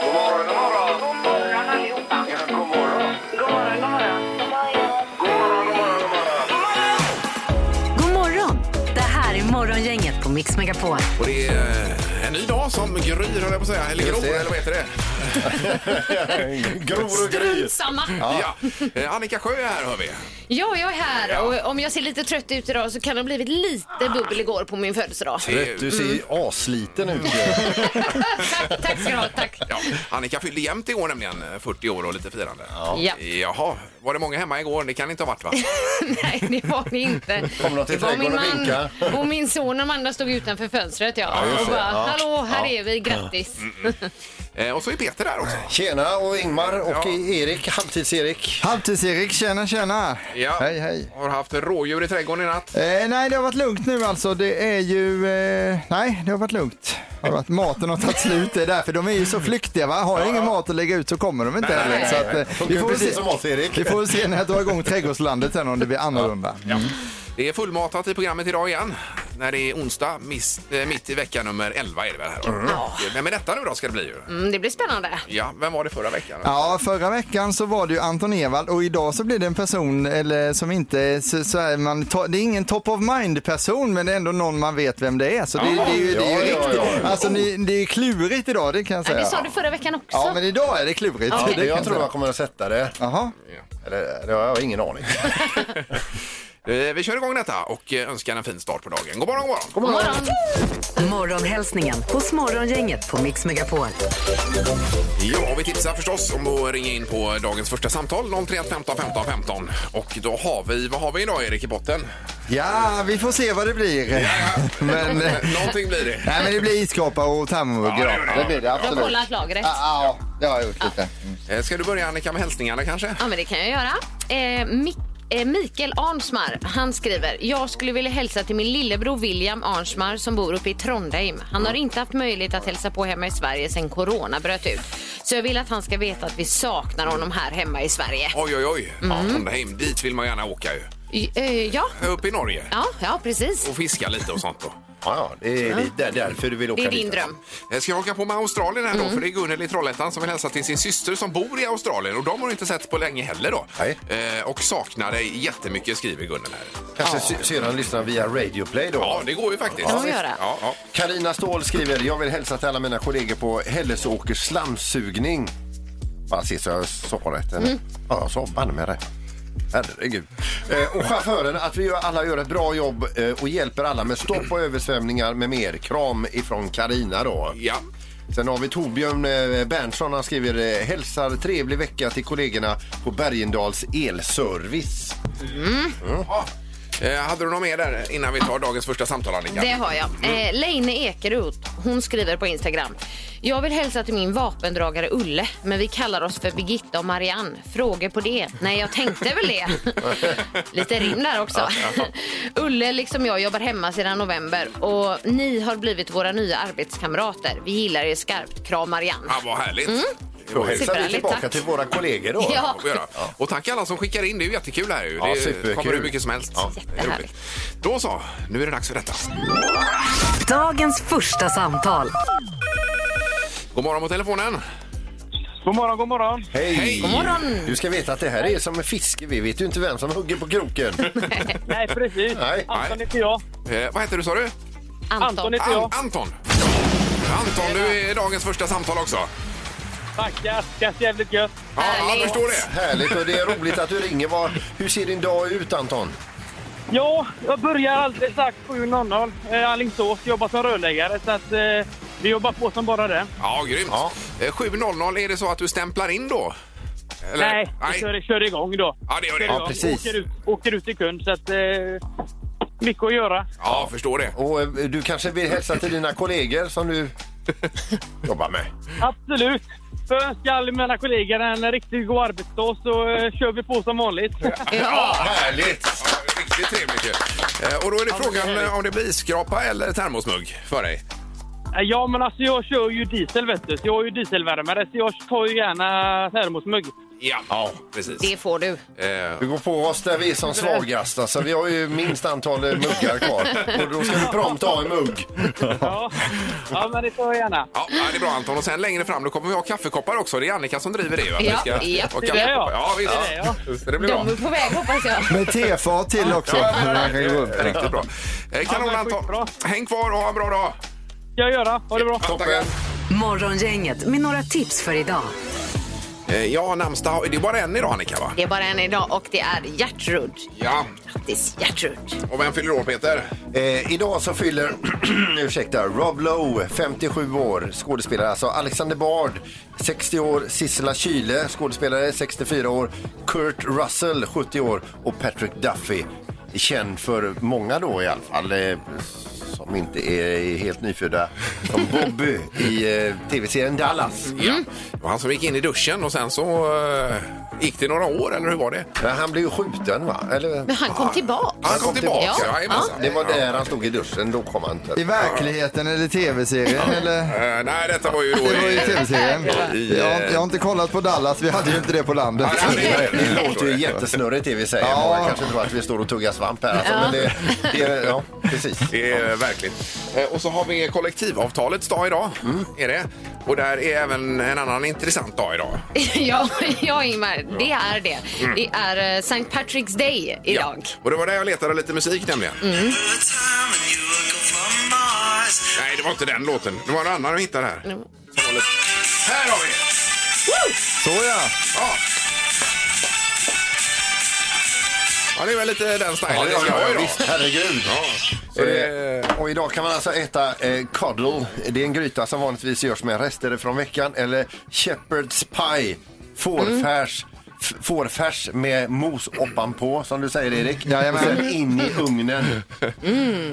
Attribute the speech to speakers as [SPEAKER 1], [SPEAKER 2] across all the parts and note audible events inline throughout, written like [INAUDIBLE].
[SPEAKER 1] God morgon, god morgon.
[SPEAKER 2] God morgon allihopa.
[SPEAKER 1] Ja, god morgon.
[SPEAKER 2] God morgon, god morgon.
[SPEAKER 3] God
[SPEAKER 1] God morgon, god morgon, god morgon.
[SPEAKER 3] morgon! Det här är Morgongänget på Mix Megapol.
[SPEAKER 4] Och det är eh, en ny dag som gryr, höll jag på att säga. Eller gror,
[SPEAKER 1] Just det.
[SPEAKER 4] eller vad heter det?
[SPEAKER 5] [LAUGHS] Gror och gris.
[SPEAKER 6] Samma.
[SPEAKER 4] Ja. Eh, Annika Sjö är här, hör vi.
[SPEAKER 6] Ja, jag är här och om jag ser lite trött ut idag så kan det ha blivit lite bubbel igår på min födelsedag.
[SPEAKER 5] Rätt, du ser ju asliten ut. ju.
[SPEAKER 6] tack, tack ska du ha, tack.
[SPEAKER 4] Ja. Annika fyllde jämnt i år nämligen, 40 år och lite firande.
[SPEAKER 6] Ja.
[SPEAKER 4] Jaha, var det många hemma igår? Det kan inte ha
[SPEAKER 6] [LAUGHS]
[SPEAKER 4] varit va?
[SPEAKER 6] [LAUGHS] Nej, det var det inte.
[SPEAKER 5] Kom de till
[SPEAKER 6] Det var min
[SPEAKER 5] trädgården och
[SPEAKER 6] man
[SPEAKER 5] vinka?
[SPEAKER 6] och min son Amanda stod utanför fönstret. Ja.
[SPEAKER 5] just
[SPEAKER 6] och
[SPEAKER 5] det.
[SPEAKER 6] bara,
[SPEAKER 5] Ja.
[SPEAKER 6] hallå, här
[SPEAKER 5] Ja. Mm,
[SPEAKER 6] är vi, grattis.
[SPEAKER 4] Eh, och så är Peter där också.
[SPEAKER 5] Tjena och Ingmar och
[SPEAKER 4] Ja.
[SPEAKER 5] Erik, halvtids-Erik.
[SPEAKER 7] Halvtids-Erik, tjena tjena!
[SPEAKER 4] Ja.
[SPEAKER 7] Hej hej!
[SPEAKER 4] Har haft rådjur i trädgården i natt.
[SPEAKER 7] Eh, nej, det har varit lugnt nu alltså. Det är ju... Eh, nej, det har varit lugnt. Har varit, maten har tagit slut, det är därför. De är ju så flyktiga. Va? Har jag ingen mat att lägga ut så kommer de inte
[SPEAKER 4] Nej,
[SPEAKER 7] heller.
[SPEAKER 4] nej,
[SPEAKER 7] Så att, eh, vi,
[SPEAKER 5] Funkar
[SPEAKER 7] får väl
[SPEAKER 5] precis
[SPEAKER 7] se,
[SPEAKER 5] som oss Erik.
[SPEAKER 7] vi får väl se när jag drar igång trädgårdslandet sen om det blir annorlunda.
[SPEAKER 4] Det är fullmatat i programmet idag igen. När det är onsdag, miss, eh, mitt i vecka nummer 11 är det väl? Här, då? Men med detta nu då ska det bli ju.
[SPEAKER 6] Mm, det blir spännande.
[SPEAKER 4] Ja, vem var det förra veckan?
[SPEAKER 7] Ja, förra veckan så var det ju Anton Ewald och idag så blir det en person eller, som inte, så, så är man, to, det är ingen top of mind person men det är ändå någon man vet vem det är. Så det, det, är ju, det är ju
[SPEAKER 5] Ja, ja,
[SPEAKER 7] riktigt,
[SPEAKER 5] ja, ja.
[SPEAKER 7] alltså ni, det är klurigt idag det kan jag
[SPEAKER 6] Ja,
[SPEAKER 7] säga.
[SPEAKER 6] det sa du förra veckan också.
[SPEAKER 7] Ja, men idag är det klurigt.
[SPEAKER 6] Ja.
[SPEAKER 7] Det kan
[SPEAKER 5] Jag tror
[SPEAKER 7] säga.
[SPEAKER 5] jag kommer att sätta det.
[SPEAKER 7] Jaha.
[SPEAKER 5] Eller det har jag ingen aning.
[SPEAKER 4] Eh, Vi kör igång detta och eh, önskar en fin start på dagen. God morgon, god morgon!
[SPEAKER 6] God morgon.
[SPEAKER 3] Morgonhälsningen hos Morgongänget på Mix Megapol.
[SPEAKER 4] Ja, och vi tipsar förstås om att ringa in på dagens första samtal 031 15 15 15. Och då har vi, vad har vi idag Erik i botten?
[SPEAKER 7] Ja, vi får se vad det blir. [LAUGHS] men, eh,
[SPEAKER 4] Någonting blir det.
[SPEAKER 7] nej, men det blir iskapa och
[SPEAKER 4] Ja,
[SPEAKER 7] tarmugglor.
[SPEAKER 4] det gör det.
[SPEAKER 7] det blir det
[SPEAKER 6] Jag har
[SPEAKER 7] absolut.
[SPEAKER 6] kollat lagret.
[SPEAKER 7] Ja, ja, det har jag gjort lite.
[SPEAKER 4] Eh, Ska du börja Annika med hälsningarna kanske?
[SPEAKER 6] Ja, men det kan jag göra. Eh, Mik- eh, Mikael Arnsmar, han skriver Jag skulle vilja hälsa till min lillebror William Arnsmar som bor uppe i Trondheim. Han har inte haft möjlighet att hälsa på hemma i Sverige sedan corona bröt ut. Så jag vill att han ska veta att vi saknar honom här hemma i Sverige.
[SPEAKER 4] Oj, oj, oj. Ja,
[SPEAKER 6] Mm.
[SPEAKER 4] Trondheim, dit vill man gärna åka ju.
[SPEAKER 6] J- eh, Ja,
[SPEAKER 4] Upp i Norge
[SPEAKER 6] ja, ja precis.
[SPEAKER 4] och fiska lite och sånt då.
[SPEAKER 5] Ja, ja, det är det- det är därför du vill åka
[SPEAKER 6] Det är din
[SPEAKER 5] dit, alltså.
[SPEAKER 6] dröm.
[SPEAKER 4] Eh, Ska jag haka på med Australien här då?
[SPEAKER 6] Mm.
[SPEAKER 4] För det är Gunnel i Trollhättan som vill hälsa till sin syster som bor i Australien och de har inte sett på länge heller då.
[SPEAKER 5] Nej.
[SPEAKER 4] Eh, Och saknar dig jättemycket skriver Gunnel här.
[SPEAKER 5] Kanske sy- syrran lyssnar via Radio Play då.
[SPEAKER 4] Ja, det går ju faktiskt.
[SPEAKER 6] Det kan man göra.
[SPEAKER 4] Ja, ja.
[SPEAKER 5] Karina Ståhl skriver, jag vill hälsa till alla mina kollegor på Hällesåkers slamsugning. Bara se så jag sa rätt. eller? Ja, jag sa banne mig rätt. Herregud. Eh, och chauffören, att vi gör, alla gör ett bra jobb eh, och hjälper alla med stopp och översvämningar med mer. Kram ifrån Karina då.
[SPEAKER 4] ja.
[SPEAKER 5] Sen har vi Torbjörn eh, Berntsson, han skriver eh, hälsar trevlig vecka till kollegorna på Bergendals elservice.
[SPEAKER 4] Eh, hade du något mer där innan vi tar dagens första samtal Annika?
[SPEAKER 6] Det har jag. Eh, Leine Ekeroth, hon skriver på Instagram. Jag vill hälsa till min vapendragare Ulle, men vi kallar oss för Birgitta och Marianne. Frågor på det? Nej, jag tänkte väl det. Lite rim där också. Ulle, liksom jag, jobbar hemma sedan november och ni har blivit våra nya arbetskamrater. Vi gillar er skarpt. Kram Marianne.
[SPEAKER 4] Ja, vad härligt. Det
[SPEAKER 5] Då
[SPEAKER 4] var ju-
[SPEAKER 6] Sitter
[SPEAKER 5] hälsar vi
[SPEAKER 6] härligt,
[SPEAKER 5] tillbaka
[SPEAKER 6] tack.
[SPEAKER 5] till våra kollegor då.
[SPEAKER 6] Ja.
[SPEAKER 4] får vi göra. Och tack alla som skickar in, det är ju jättekul här ju.
[SPEAKER 5] Ja,
[SPEAKER 4] det är-
[SPEAKER 5] superkul.
[SPEAKER 4] kommer hur mycket som helst.
[SPEAKER 5] Ja.
[SPEAKER 4] Det är roligt. Då så, nu är det dags för detta.
[SPEAKER 3] Dagens första samtal.
[SPEAKER 4] God morgon på telefonen.
[SPEAKER 8] God morgon, god morgon.
[SPEAKER 5] Hej!
[SPEAKER 4] God
[SPEAKER 5] morgon! Du ska veta att det här är som en fiske. Vi vet ju inte vem som hugger på kroken.
[SPEAKER 8] Nej, precis.
[SPEAKER 5] Nej.
[SPEAKER 8] Anton heter jag.
[SPEAKER 4] Eh, vad heter du sa du?
[SPEAKER 8] Anton
[SPEAKER 6] Anton.
[SPEAKER 8] heter jag.
[SPEAKER 4] Anton. Anton, du är dagens första samtal också.
[SPEAKER 8] Tackar. Känns jävligt gött.
[SPEAKER 4] Ja, jag
[SPEAKER 6] Härligt.
[SPEAKER 4] förstår det.
[SPEAKER 5] Härligt och det är roligt att du ringer. Vad- Hur ser din dag ut Anton?
[SPEAKER 8] Ja, jag börjar alldeles strax 7.00. Eh, Alingsås. Jobbar som rörläggare. Så att, eh, vi jobbar på som bara det.
[SPEAKER 4] Ja, grymt.
[SPEAKER 5] Ja.
[SPEAKER 4] Eh, 7.00, är det så att du stämplar in då? Eller-
[SPEAKER 8] Nej, vi kör, kör igång då.
[SPEAKER 4] Ja, det gör det.
[SPEAKER 8] Kör
[SPEAKER 4] Ja,
[SPEAKER 8] igång.
[SPEAKER 5] precis.
[SPEAKER 8] Åker ut, åker ut till kund. Så att, eh, mycket att göra.
[SPEAKER 4] Ja, förstår det.
[SPEAKER 5] Och eh, du kanske vill hälsa till dina kollegor som du jobbar med?
[SPEAKER 8] Absolut. För jag önskar alla mina kollegor en riktigt god arbetsdag så eh, kör vi på som vanligt. [LAUGHS]
[SPEAKER 6] Ja.
[SPEAKER 5] Härligt!
[SPEAKER 4] Ja, riktigt trevligt ju. Eh, Och då är det frågan eh, om det blir skrapa eller termosmugg för dig.
[SPEAKER 8] Ja, men alltså jag kör ju diesel vet du. Så jag är ju dieselvärmare så jag tar ju gärna termosmugg.
[SPEAKER 4] Ja, ja precis.
[SPEAKER 6] Det får du.
[SPEAKER 4] Eh,
[SPEAKER 5] Du går på oss där vi är som svagast. Alltså, vi har ju minst antal eh, muggar kvar. Och då ska du prompt ha en mugg.
[SPEAKER 8] Ja, ja men det tar jag gärna.
[SPEAKER 4] Ja, ja, det är bra Anton. Och sen längre fram då kommer vi ha kaffekoppar också. Det är Annika som driver det va?
[SPEAKER 6] Ja,
[SPEAKER 4] vi ska
[SPEAKER 6] ja.
[SPEAKER 4] ha
[SPEAKER 6] Det
[SPEAKER 8] är det,
[SPEAKER 4] kaffekoppar.
[SPEAKER 8] ja.
[SPEAKER 4] Ja, visst.
[SPEAKER 8] Det är det, ja.
[SPEAKER 4] Så det blir
[SPEAKER 6] De
[SPEAKER 4] bra.
[SPEAKER 6] är på väg hoppas jag.
[SPEAKER 7] Med tefat till också.
[SPEAKER 4] Ja, men,
[SPEAKER 7] Man kan gå upp.
[SPEAKER 4] eh, Riktigt bra. Eh, Kanon
[SPEAKER 8] men
[SPEAKER 4] Anton.
[SPEAKER 8] skitbra.
[SPEAKER 4] Häng kvar och ha en bra dag.
[SPEAKER 8] Ska jag göra. Ha det bra.
[SPEAKER 4] Ja, tackar.
[SPEAKER 5] Toppen.
[SPEAKER 3] Morgongänget med några tips för idag.
[SPEAKER 4] Eh, Ja, namnsdag. Det är bara en idag Annika va?
[SPEAKER 6] Det är bara en idag och det är Gertrud.
[SPEAKER 4] Ja.
[SPEAKER 6] Grattis Gertrud.
[SPEAKER 4] Och vem fyller år Peter?
[SPEAKER 6] Mm.
[SPEAKER 5] Eh, idag så fyller, [CLEARS THROAT] ursäkta, Rob Lowe, 57 år, skådespelare. Alltså Alexander Bard, 60 år. Sissela Kyle, skådespelare, 64 år. Kurt Russell, 70 år. Och Patrick Duffy, känd för många då i alla fall. eh, Som inte är helt nyfödda. Som Bobby i eh, tv-serien Dallas.
[SPEAKER 4] Ja. Det var han som gick in i duschen och sen så eh, gick det några år eller hur var det?
[SPEAKER 5] Men han blev ju skjuten va? Eller?
[SPEAKER 6] [LAUGHS] Men han kom tillbaka.
[SPEAKER 4] Han kom tillbaka.
[SPEAKER 6] Ja. [LAUGHS]
[SPEAKER 4] jajamensan.
[SPEAKER 5] Det var där han stod i duschen, då kom han
[SPEAKER 7] I
[SPEAKER 5] inte.
[SPEAKER 7] verkligheten eller tv-serien eller?
[SPEAKER 4] Eh, nej, detta var ju då...
[SPEAKER 7] Det var ju
[SPEAKER 4] i-
[SPEAKER 7] tv-serien.
[SPEAKER 4] I,
[SPEAKER 7] Jag, har-
[SPEAKER 4] eh,
[SPEAKER 7] jag har inte kollat på Dallas, vi hade ju inte det på landet.
[SPEAKER 4] Ja, det hade vi inte.
[SPEAKER 5] Det låter ju jättesnurrigt det vi säger.
[SPEAKER 7] Ja.
[SPEAKER 5] Många kanske tror att vi står och tuggar svamp här. Alltså, men det, det, är- ja, precis.
[SPEAKER 4] Det är verkligt. Eh, Och så har vi kollektivavtalets dag idag. Mm, Är det. Och där är även en annan intressant dag idag.
[SPEAKER 6] ja, ja Ingmar, det är det.
[SPEAKER 4] Mm.
[SPEAKER 6] Det är eh, St. Patrick's Day idag.
[SPEAKER 4] Och det var där jag letade lite musik nämligen. Nej, det var inte den låten. Det var en annan jag hittade här. Som var lite... Här har vi det!
[SPEAKER 7] Så ja.
[SPEAKER 4] Ja. ja, det är väl lite den stilen
[SPEAKER 5] Ja,
[SPEAKER 4] det ska vara idag.
[SPEAKER 5] visst, herregud.
[SPEAKER 4] Ja. Så det...
[SPEAKER 5] Eh, Och idag kan man alltså äta eh, coddle. Det är en gryta som vanligtvis görs med rester från veckan. Eller shepherd's pie, fårfärs. f- Fårfärs med mos oppanpå, som du säger Erik. Och
[SPEAKER 7] Jajamän.
[SPEAKER 5] sen in i ugnen.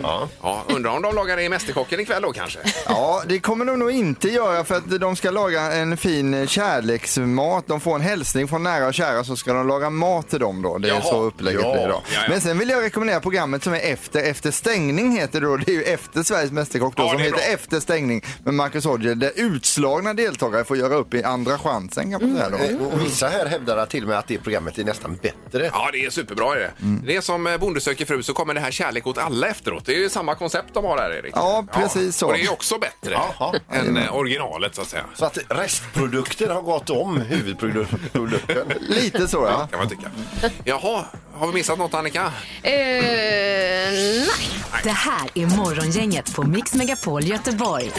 [SPEAKER 4] Ja, undrar om de lagar det i Mästerkocken ikväll då kanske?
[SPEAKER 7] Ja, det kommer de nog inte göra för att de ska laga en fin kärleksmat. De får en hälsning från nära och kära så ska de laga mat till dem då. Det är
[SPEAKER 4] Jaha,
[SPEAKER 7] så upplägget
[SPEAKER 4] ja,
[SPEAKER 7] blir då.
[SPEAKER 4] ja, ja.
[SPEAKER 7] Men sen vill jag rekommendera programmet som är efter, efter stängning heter det då. Det är ju efter Sveriges Mästerkock då
[SPEAKER 4] Ja,
[SPEAKER 7] som
[SPEAKER 4] det är
[SPEAKER 7] heter
[SPEAKER 4] bra.
[SPEAKER 7] Efter stängning med Marcus Auger där utslagna deltagare får göra upp i andra chansen kan man säga då.
[SPEAKER 4] Mm.
[SPEAKER 5] Eh, Och vissa här hävdar att till och med att det programmet är nästan bättre.
[SPEAKER 4] Ja, det är superbra. Är det. det är som eh, Bonde söker fru så kommer det här Kärlek åt alla efteråt. Det är ju samma koncept de har här, Erik.
[SPEAKER 7] Ja, precis så.
[SPEAKER 4] Och det är också bättre
[SPEAKER 5] Jaha.
[SPEAKER 4] än eh, originalet, så att säga.
[SPEAKER 5] Så att restprodukter har gått om huvudprodukten.
[SPEAKER 4] [LAUGHS]
[SPEAKER 7] Lite så ja.
[SPEAKER 4] Kan man tycka. Jaha, har vi missat något Annika?
[SPEAKER 6] Eh, nej.
[SPEAKER 3] Det här är Morgongänget på Mix Megapol Göteborg.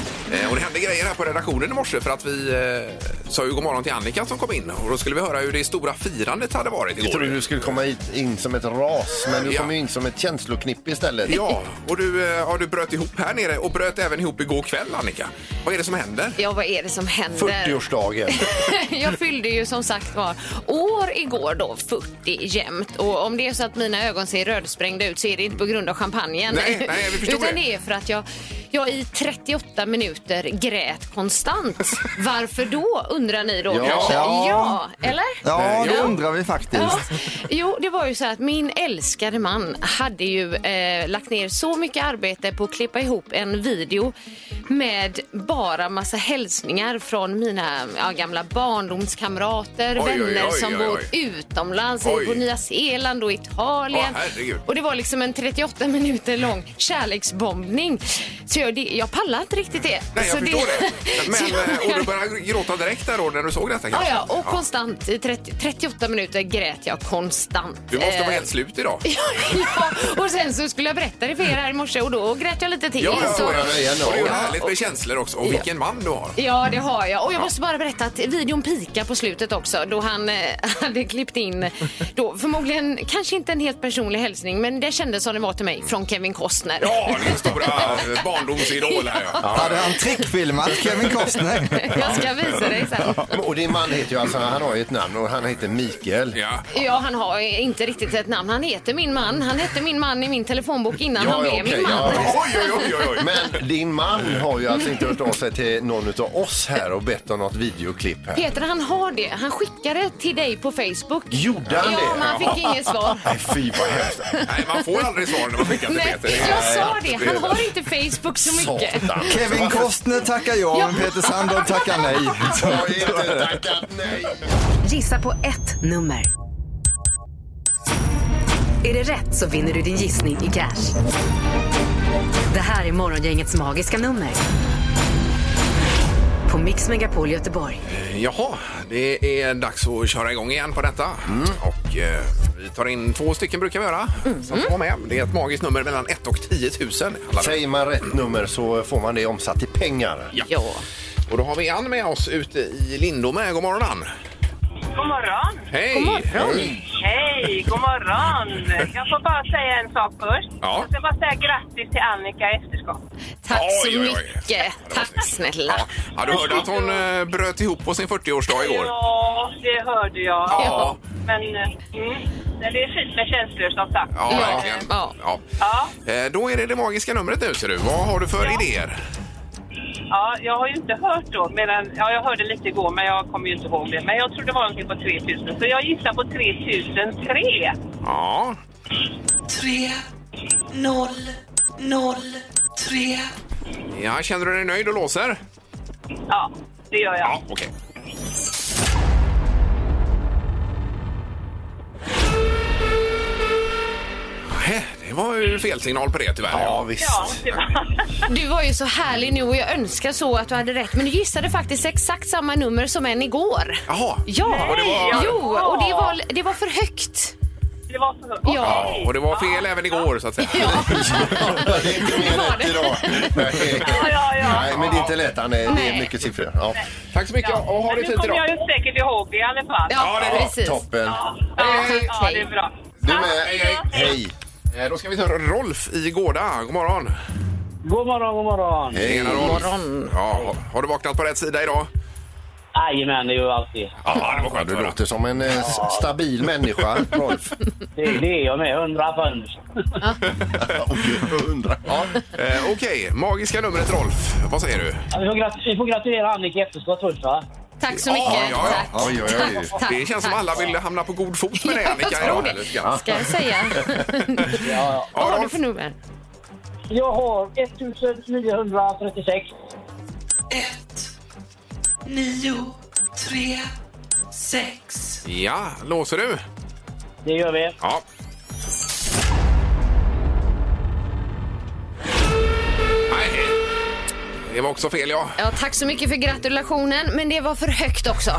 [SPEAKER 4] Eh, och det hände grejer här på redaktionen i morse för att vi eh, sa ju god morgon till Annika som kom in och då skulle vi höra hur det stora firandet hade varit
[SPEAKER 5] Jag
[SPEAKER 4] igår.
[SPEAKER 5] trodde du skulle komma hit, in som ett ras, men du
[SPEAKER 4] Ja.
[SPEAKER 5] kom ju in som ett känsloknippe istället.
[SPEAKER 4] Ja, och du, eh, ja, du bröt ihop här nere och bröt även ihop igår kväll Annika. Vad är det som händer?
[SPEAKER 6] Ja, vad är det som händer?
[SPEAKER 5] 40-årsdagen.
[SPEAKER 6] [LAUGHS] jag fyllde ju som sagt var år igår då, 40 jämt. Och om det är så att mina ögon ser rödsprängda ut så är det inte på grund av champagnen.
[SPEAKER 4] Nej, nej, vi förstår
[SPEAKER 6] [LAUGHS] Utan
[SPEAKER 4] det.
[SPEAKER 6] det är för att jag, jag i 38 minuter grät konstant. Varför då, undrar ni då
[SPEAKER 5] Ja.
[SPEAKER 6] kanske?
[SPEAKER 7] Ja.
[SPEAKER 6] Ja, eller?
[SPEAKER 7] Ja, det
[SPEAKER 4] Ja.
[SPEAKER 7] undrar vi faktiskt.
[SPEAKER 6] Ja. Jo, det var ju så att min älskade man hade ju eh, lagt ner så mycket arbete på att klippa ihop en video med bara massa hälsningar från mina ja, gamla barndomskamrater,
[SPEAKER 4] Oj, oj,
[SPEAKER 6] vänner
[SPEAKER 4] oj,
[SPEAKER 6] som
[SPEAKER 4] oj,
[SPEAKER 6] bor
[SPEAKER 4] oj.
[SPEAKER 6] utomlands,
[SPEAKER 4] Oj.
[SPEAKER 6] på Nya Zeeland och Italien.
[SPEAKER 4] Åh, herregud.
[SPEAKER 6] och det var liksom en 38 minuter lång kärleksbombning. Så jag, det, jag pallar inte riktigt det.
[SPEAKER 4] Nej, jag
[SPEAKER 6] Så
[SPEAKER 4] förstår det.
[SPEAKER 6] [LAUGHS] Så
[SPEAKER 4] Men,
[SPEAKER 6] jag-
[SPEAKER 4] eh, och du började gråta direkt där då när du såg detta
[SPEAKER 6] Ja,
[SPEAKER 4] kanske?
[SPEAKER 6] ja, och konstant. I 30, 38 minuter grät jag konstant.
[SPEAKER 4] Du måste vara
[SPEAKER 6] Eh,
[SPEAKER 4] helt
[SPEAKER 6] [LAUGHS]
[SPEAKER 4] slut idag.
[SPEAKER 6] ja, och sen så skulle jag berätta det för er här i morse och då grät jag lite till. så...
[SPEAKER 4] och
[SPEAKER 5] ja, ja, ja.
[SPEAKER 4] det är ju härligt med känslor också. Och vilken man du har.
[SPEAKER 6] Ja, det har jag. Och jag måste bara berätta att videon pikar på slutet också då han eh, [LAUGHS] hade klippt in då förmodligen, kanske inte en helt personlig hälsning, men det kändes som det var till mig från Kevin Costner.
[SPEAKER 4] Ja, din stora eh, barndomsidol här ja.
[SPEAKER 7] Hade han trickfilmat Kevin Costner?
[SPEAKER 6] [LAUGHS] Jag ska visa dig sen.
[SPEAKER 5] Och din man heter ju alltså, han har ju ett namn och han heter Mikael.
[SPEAKER 4] Ja.
[SPEAKER 6] Ja, han har inte riktigt ett namn. Han heter min man. Han hette min man i min telefonbok innan
[SPEAKER 5] Ja,
[SPEAKER 6] han
[SPEAKER 5] ja,
[SPEAKER 6] blev
[SPEAKER 5] okej,
[SPEAKER 6] min man.
[SPEAKER 5] ja,
[SPEAKER 4] Oj, oj, oj, oj, oj.
[SPEAKER 5] Men din man har ju alltså inte hört av sig till någon av oss här och bett om något videoklipp här.
[SPEAKER 6] Peter han har det. Han skickade till dig på Facebook.
[SPEAKER 5] Gjorde han
[SPEAKER 6] Ja,
[SPEAKER 5] det?
[SPEAKER 6] men han fick inget
[SPEAKER 5] [LAUGHS]
[SPEAKER 6] svar.
[SPEAKER 5] Nej, fy vad hemskt.
[SPEAKER 4] Nej, man får aldrig svar när man skickar till
[SPEAKER 6] Nej,
[SPEAKER 4] Peter.
[SPEAKER 6] jag sa det. Han har inte Facebook så mycket.
[SPEAKER 5] Satan.
[SPEAKER 6] [LAUGHS]
[SPEAKER 7] Kevin Costner tackar ja, men Peter Sandholm tackar nej.
[SPEAKER 5] Jag är inte tackat nej.
[SPEAKER 3] Gissa på ett nummer. Är det rätt så vinner du din gissning i cash. Det här är Morgongängets magiska nummer. På Mix Megapol Göteborg.
[SPEAKER 4] Jaha, det är dags att köra igång igen på detta. Och eh, vi tar in två stycken brukar vi göra. Som får vara med. Det är ett magiskt nummer mellan 1 och 10 000. handlar det.
[SPEAKER 5] Säger man rätt nummer så får man det omsatt i pengar.
[SPEAKER 6] Ja.
[SPEAKER 4] Och då har vi Ann med oss ute i Lindome. God morgon Ann!
[SPEAKER 2] God morgon.
[SPEAKER 4] Hej! Hej.
[SPEAKER 2] Hej, god morgon. Jag får bara säga en sak först.
[SPEAKER 4] Ja.
[SPEAKER 2] Jag ska bara säga grattis till Annika i efterskott.
[SPEAKER 6] Tack så
[SPEAKER 4] Oj, oj, oj.
[SPEAKER 6] mycket. Tack snälla.
[SPEAKER 4] Ja. ja, du hörde att hon eh, bröt ihop på sin 40-årsdag igår.
[SPEAKER 2] Ja, det hörde jag.
[SPEAKER 4] Ja.
[SPEAKER 2] Men eh, mm, nej, det är fint med känslor som sagt.
[SPEAKER 4] Ja,
[SPEAKER 6] Ja.
[SPEAKER 4] verkligen.
[SPEAKER 6] Ja.
[SPEAKER 4] Ja.
[SPEAKER 2] Ja,
[SPEAKER 4] Eh, Då är det det magiska numret nu ser du. Vad har du för idéer?
[SPEAKER 2] ja, jag har ju inte hört då. Medan, ja, jag hörde lite igår, men jag kommer ju inte ihåg det. Men jag tror det var någonting på 3000, så jag gissar på 3003.
[SPEAKER 4] Ja. Ja, känner du dig nöjd och låser?
[SPEAKER 2] Ja, det gör jag.
[SPEAKER 4] Ja, okej. Nähä, Det var ju fel signal på det tyvärr.
[SPEAKER 5] Ja,
[SPEAKER 2] Ja,
[SPEAKER 5] visst.
[SPEAKER 2] det var... [LAUGHS]
[SPEAKER 6] Du var ju så härlig nu och jag önskar så att du hade rätt. Men du gissade faktiskt exakt samma nummer som en igår.
[SPEAKER 4] Jaha.
[SPEAKER 6] Ja,
[SPEAKER 4] Och det var-
[SPEAKER 6] jo, och det var, det var för högt.
[SPEAKER 2] Det var så...
[SPEAKER 6] Ja.
[SPEAKER 4] Ja, och det var fel även igår så att säga.
[SPEAKER 6] Ja,
[SPEAKER 5] Det är inte mer
[SPEAKER 6] Det var
[SPEAKER 5] rätt
[SPEAKER 6] det.
[SPEAKER 5] idag. Nej.
[SPEAKER 6] [LAUGHS]
[SPEAKER 2] Ja, ja, ja.
[SPEAKER 5] Nej, men det är inte lätt. Han är, det är
[SPEAKER 6] Nej.
[SPEAKER 5] mycket siffror. Ja.
[SPEAKER 4] Tack så mycket och ha
[SPEAKER 2] Men
[SPEAKER 4] det
[SPEAKER 2] nu
[SPEAKER 4] fint
[SPEAKER 2] kommer jag
[SPEAKER 4] idag.
[SPEAKER 2] ju säkert ihåg det i alla fall.
[SPEAKER 6] ja,
[SPEAKER 4] det var
[SPEAKER 6] precis.
[SPEAKER 5] Toppen.
[SPEAKER 2] ja,
[SPEAKER 6] Hej, hej.
[SPEAKER 2] ja det är bra.
[SPEAKER 5] Du
[SPEAKER 2] Tack.
[SPEAKER 5] med. Hej.
[SPEAKER 4] Eh, Då ska vi ta Rolf i Gårda. God morgon.
[SPEAKER 8] God morgon, god morgon.
[SPEAKER 5] Hej.
[SPEAKER 4] Tjena, Rolf. Ja, har du vaknat på rätt sida idag?
[SPEAKER 8] Jajamän, det gör jag alltid.
[SPEAKER 4] Ja, det var skönt
[SPEAKER 5] Du
[SPEAKER 4] att höra.
[SPEAKER 5] låter som en eh, s- stabil människa,
[SPEAKER 4] [LAUGHS]
[SPEAKER 5] Rolf.
[SPEAKER 8] Det, det är jag med, hundra pund.
[SPEAKER 5] Och jag undrar. Ja.
[SPEAKER 4] Eh, Okej, magiska numret Rolf. Vad säger du?
[SPEAKER 8] Ja, Vi får, grat- vi får gratulera Annika i efterskott först va?
[SPEAKER 6] Tack så
[SPEAKER 4] Ja,
[SPEAKER 6] mycket.
[SPEAKER 4] ja, ja.
[SPEAKER 6] Tack.
[SPEAKER 5] Oj, oj, oj.
[SPEAKER 6] Tack,
[SPEAKER 4] Det känns som
[SPEAKER 6] tack.
[SPEAKER 4] alla vill hamna på god fot med dig
[SPEAKER 6] Ja,
[SPEAKER 4] Annika
[SPEAKER 6] jag
[SPEAKER 4] idag.
[SPEAKER 6] tror det.
[SPEAKER 4] här lite grann.
[SPEAKER 6] Ska jag säga.
[SPEAKER 8] Ja,
[SPEAKER 6] [LAUGHS] Vad
[SPEAKER 4] Ja,
[SPEAKER 6] har du
[SPEAKER 4] Rolf.
[SPEAKER 6] för nummer?
[SPEAKER 8] Jag har 1936.
[SPEAKER 4] Ja, låser du?
[SPEAKER 8] Det gör vi.
[SPEAKER 4] Ja. Nej, det var också fel ja.
[SPEAKER 6] Ja, tack så mycket för gratulationen, men det var för högt också.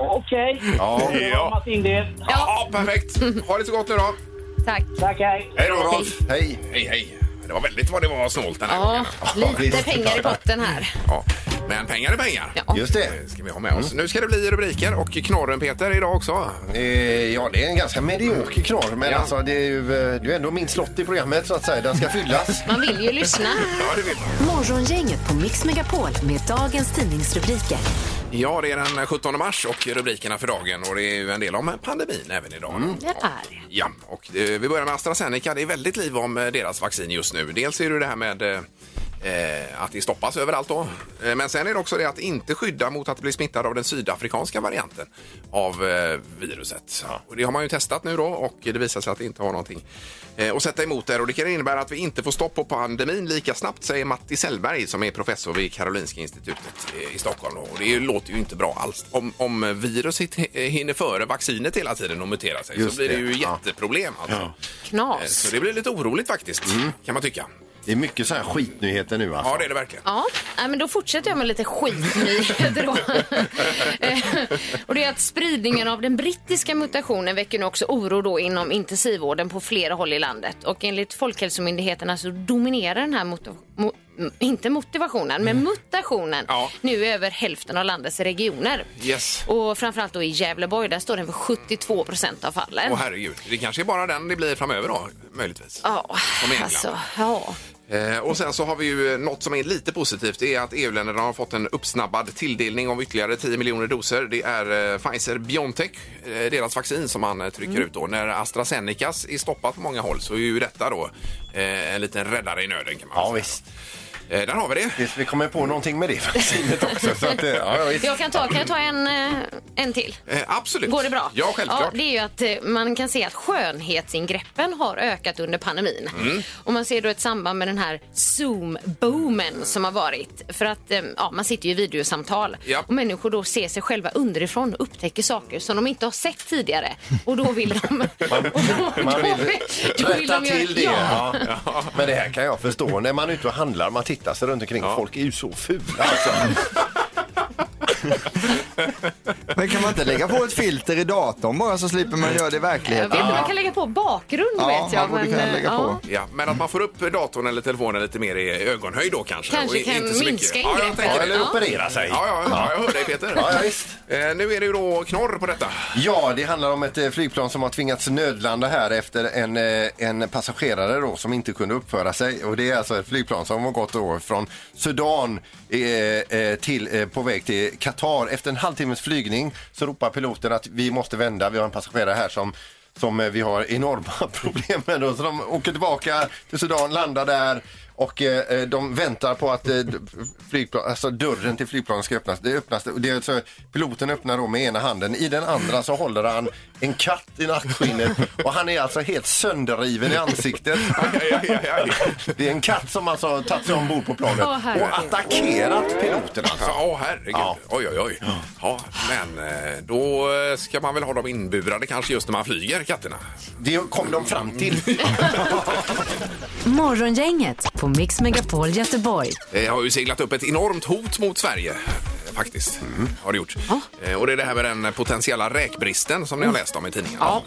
[SPEAKER 8] Okej.
[SPEAKER 5] Ja.
[SPEAKER 8] Jag har rammat in det.
[SPEAKER 4] Ja, perfekt. Ha det så gott nu då.
[SPEAKER 6] Tack.
[SPEAKER 8] Tack, hej.
[SPEAKER 4] Hej då Rolf.
[SPEAKER 5] Hej.
[SPEAKER 4] Hej, hej. Det var väldigt vad det var snålt den här
[SPEAKER 6] Ja,
[SPEAKER 4] gången.
[SPEAKER 6] lite
[SPEAKER 5] visst.
[SPEAKER 6] pengar i potten här.
[SPEAKER 4] Ja. Men pengar är pengar.
[SPEAKER 6] Ja.
[SPEAKER 5] Just det.
[SPEAKER 4] Det ska vi ha med oss. Nu ska det bli rubriker och knorren Peter idag också.
[SPEAKER 5] Eh, Ja, det är en ganska medioker knorr, men
[SPEAKER 4] Ja.
[SPEAKER 5] alltså, det är ju eh, det är ändå min slott i programmet så att säga. Den
[SPEAKER 4] [LAUGHS]
[SPEAKER 5] ska fyllas.
[SPEAKER 6] Man vill ju lyssna.
[SPEAKER 4] Ja, det vill man.
[SPEAKER 3] Morgongänget på Mix Megapol med dagens tidningsrubriker.
[SPEAKER 4] Ja, det är den 17 mars och rubrikerna för dagen och det är ju en del om pandemin även idag.
[SPEAKER 6] Det är
[SPEAKER 4] Ja, och eh, vi börjar med AstraZeneca. Det är väldigt liv om eh, deras vaccin just nu. Dels är det ju det här med eh, eh, att det stoppas överallt då. Eh, Men sen är det också det att inte skydda mot att bli smittad av den sydafrikanska varianten av eh, viruset. Och det har man ju testat nu då och det visar sig att det inte har någonting eh, att sätta emot där. Och det kan innebära att vi inte får stopp på pandemin lika snabbt, säger Matti Sellberg som är professor vid Karolinska institutet eh, i Stockholm. Och det är ju- låter ju inte bra alls. Om, om viruset h- hinner före vaccinet hela tiden och muterar sig
[SPEAKER 5] Just
[SPEAKER 4] så blir det
[SPEAKER 5] det.
[SPEAKER 4] ju
[SPEAKER 5] Ja.
[SPEAKER 4] jätteproblem. Alltså. Eh,
[SPEAKER 6] Knas.
[SPEAKER 4] Så det blir lite oroligt faktiskt,
[SPEAKER 5] Mm.
[SPEAKER 4] kan man tycka.
[SPEAKER 5] Det är mycket så här skitnyheter nu alltså.
[SPEAKER 4] Ja, det är det verkligen.
[SPEAKER 6] Ja, nej, men då fortsätter jag med lite skitnyheter då. Eh, och det är att spridningen av den brittiska mutationen väcker nu också oro då inom intensivvården på flera håll i landet. Och enligt Folkhälsomyndigheterna så dominerar den här mota- mo- m- inte motivationen, men mutationen
[SPEAKER 4] Mm. Ja.
[SPEAKER 6] nu i över hälften av landets regioner.
[SPEAKER 4] Yes.
[SPEAKER 6] Och framförallt då i Gävleborg, där står den för 72 procent av fallen.
[SPEAKER 4] Åh herregud, det kanske är bara den det blir framöver då, möjligtvis.
[SPEAKER 6] Ja,
[SPEAKER 4] Som England.
[SPEAKER 6] alltså, ja.
[SPEAKER 4] Eh, och sen så har vi ju eh, något som är lite positivt. Det är att EU-länderna har fått en uppsnabbad tilldelning av ytterligare 10 miljoner doser. Det är eh, Pfizer-Biontech, eh, deras vaccin som man eh, trycker
[SPEAKER 6] Mm.
[SPEAKER 4] ut då. När AstraZenecas är stoppat på många håll så är ju detta då eh, en liten räddare i nöden kan man
[SPEAKER 5] Ja,
[SPEAKER 4] säga.
[SPEAKER 5] visst.
[SPEAKER 4] Eh, där har vi det.
[SPEAKER 5] Visst, Vi kommer på
[SPEAKER 4] [LAUGHS]
[SPEAKER 5] någonting med det vaccinet också. Så att, eh, ja, visst.
[SPEAKER 6] Jag kan, ta, kan jag ta en, eh, en till?
[SPEAKER 4] Eh, absolut.
[SPEAKER 6] Går det bra?
[SPEAKER 4] Ja, självklart.
[SPEAKER 6] det är ju att eh, man kan se att skönhetsingreppen har ökat under pandemin. Och man ser då ett samband med den här Zoom-boomen som har varit. För att eh, ja, man sitter ju i videosamtal
[SPEAKER 4] Ja.
[SPEAKER 6] och människor då ser sig själva underifrån och upptäcker saker som de inte har sett tidigare. Och då vill de... [LAUGHS] och då,
[SPEAKER 5] Man vill
[SPEAKER 6] då då vill
[SPEAKER 5] rätta
[SPEAKER 6] de göra-
[SPEAKER 5] till det.
[SPEAKER 6] Ja.
[SPEAKER 5] Ja. Men det här kan jag förstå. När man är ute och handlar, man tittar sig runt omkring. Folk är ju så fula. Alltså.
[SPEAKER 7] Men kan man inte lägga på ett filter i datorn bara så slipper man göra det i
[SPEAKER 6] Jag vet
[SPEAKER 7] verkligheten?
[SPEAKER 6] inte, man kan lägga på bakgrund
[SPEAKER 7] Ja,
[SPEAKER 6] vet jag.
[SPEAKER 7] man borde kunna
[SPEAKER 6] eh,
[SPEAKER 7] lägga på.
[SPEAKER 4] Ja, men att man får upp datorn eller telefonen lite mer i ögonhöjd då kanske.
[SPEAKER 6] Kanske
[SPEAKER 4] i-
[SPEAKER 6] kan minska
[SPEAKER 4] ja, jag
[SPEAKER 6] ingreppen.
[SPEAKER 4] tänker
[SPEAKER 5] Ja,
[SPEAKER 4] det.
[SPEAKER 5] eller operera sig.
[SPEAKER 4] Ja, ja, ja, jag hör dig Peter.
[SPEAKER 5] Ja, ja, visst.
[SPEAKER 4] Eh, nu är det ju då knorr på detta.
[SPEAKER 5] Ja, det handlar om ett eh, flygplan som har tvingats nödlanda här efter en, eh, en passagerare då, som inte kunde uppföra sig. Och det är alltså ett flygplan som har gått då från Sudan eh, eh, till, eh, på väg till Qatar. Efter en halvtimmes flygning så ropar piloten att vi måste vända. Vi har en passagerare här som som eh, vi har enorma [LAUGHS] problem med. Då. Så de åker tillbaka till Sudan, landar där och eh, de väntar på att eh, d- flygplan, alltså dörren till flygplanet ska öppnas. Det öppnas och det är så, piloten öppnar då med ena handen. I den andra så håller han en katt i nackskinnet och han är alltså helt sönderriven i ansiktet.
[SPEAKER 4] [LAUGHS] Aj, aj, aj, aj.
[SPEAKER 5] Det är en katt som alltså har tagit sig ombord på planet
[SPEAKER 6] Åh, herregud.
[SPEAKER 5] och attackerat piloten alltså.
[SPEAKER 4] Ja, åh, herregud.
[SPEAKER 5] Ja.
[SPEAKER 4] Oj, oj, oj. Ja, men eh, då eh, ska man väl ha dem inburade kanske just när man flyger, katterna.
[SPEAKER 5] Det kom de
[SPEAKER 6] [LAUGHS]
[SPEAKER 5] fram till.
[SPEAKER 3] Morgongänget på Mix Megapol Göteborg.
[SPEAKER 4] Det Eh, har ju seglat upp ett enormt hot mot Sverige. eh, Faktiskt, har det gjort. Eh, Och det är det här med den potentiella räkbristen som ni har läst om i tidningen. Ja.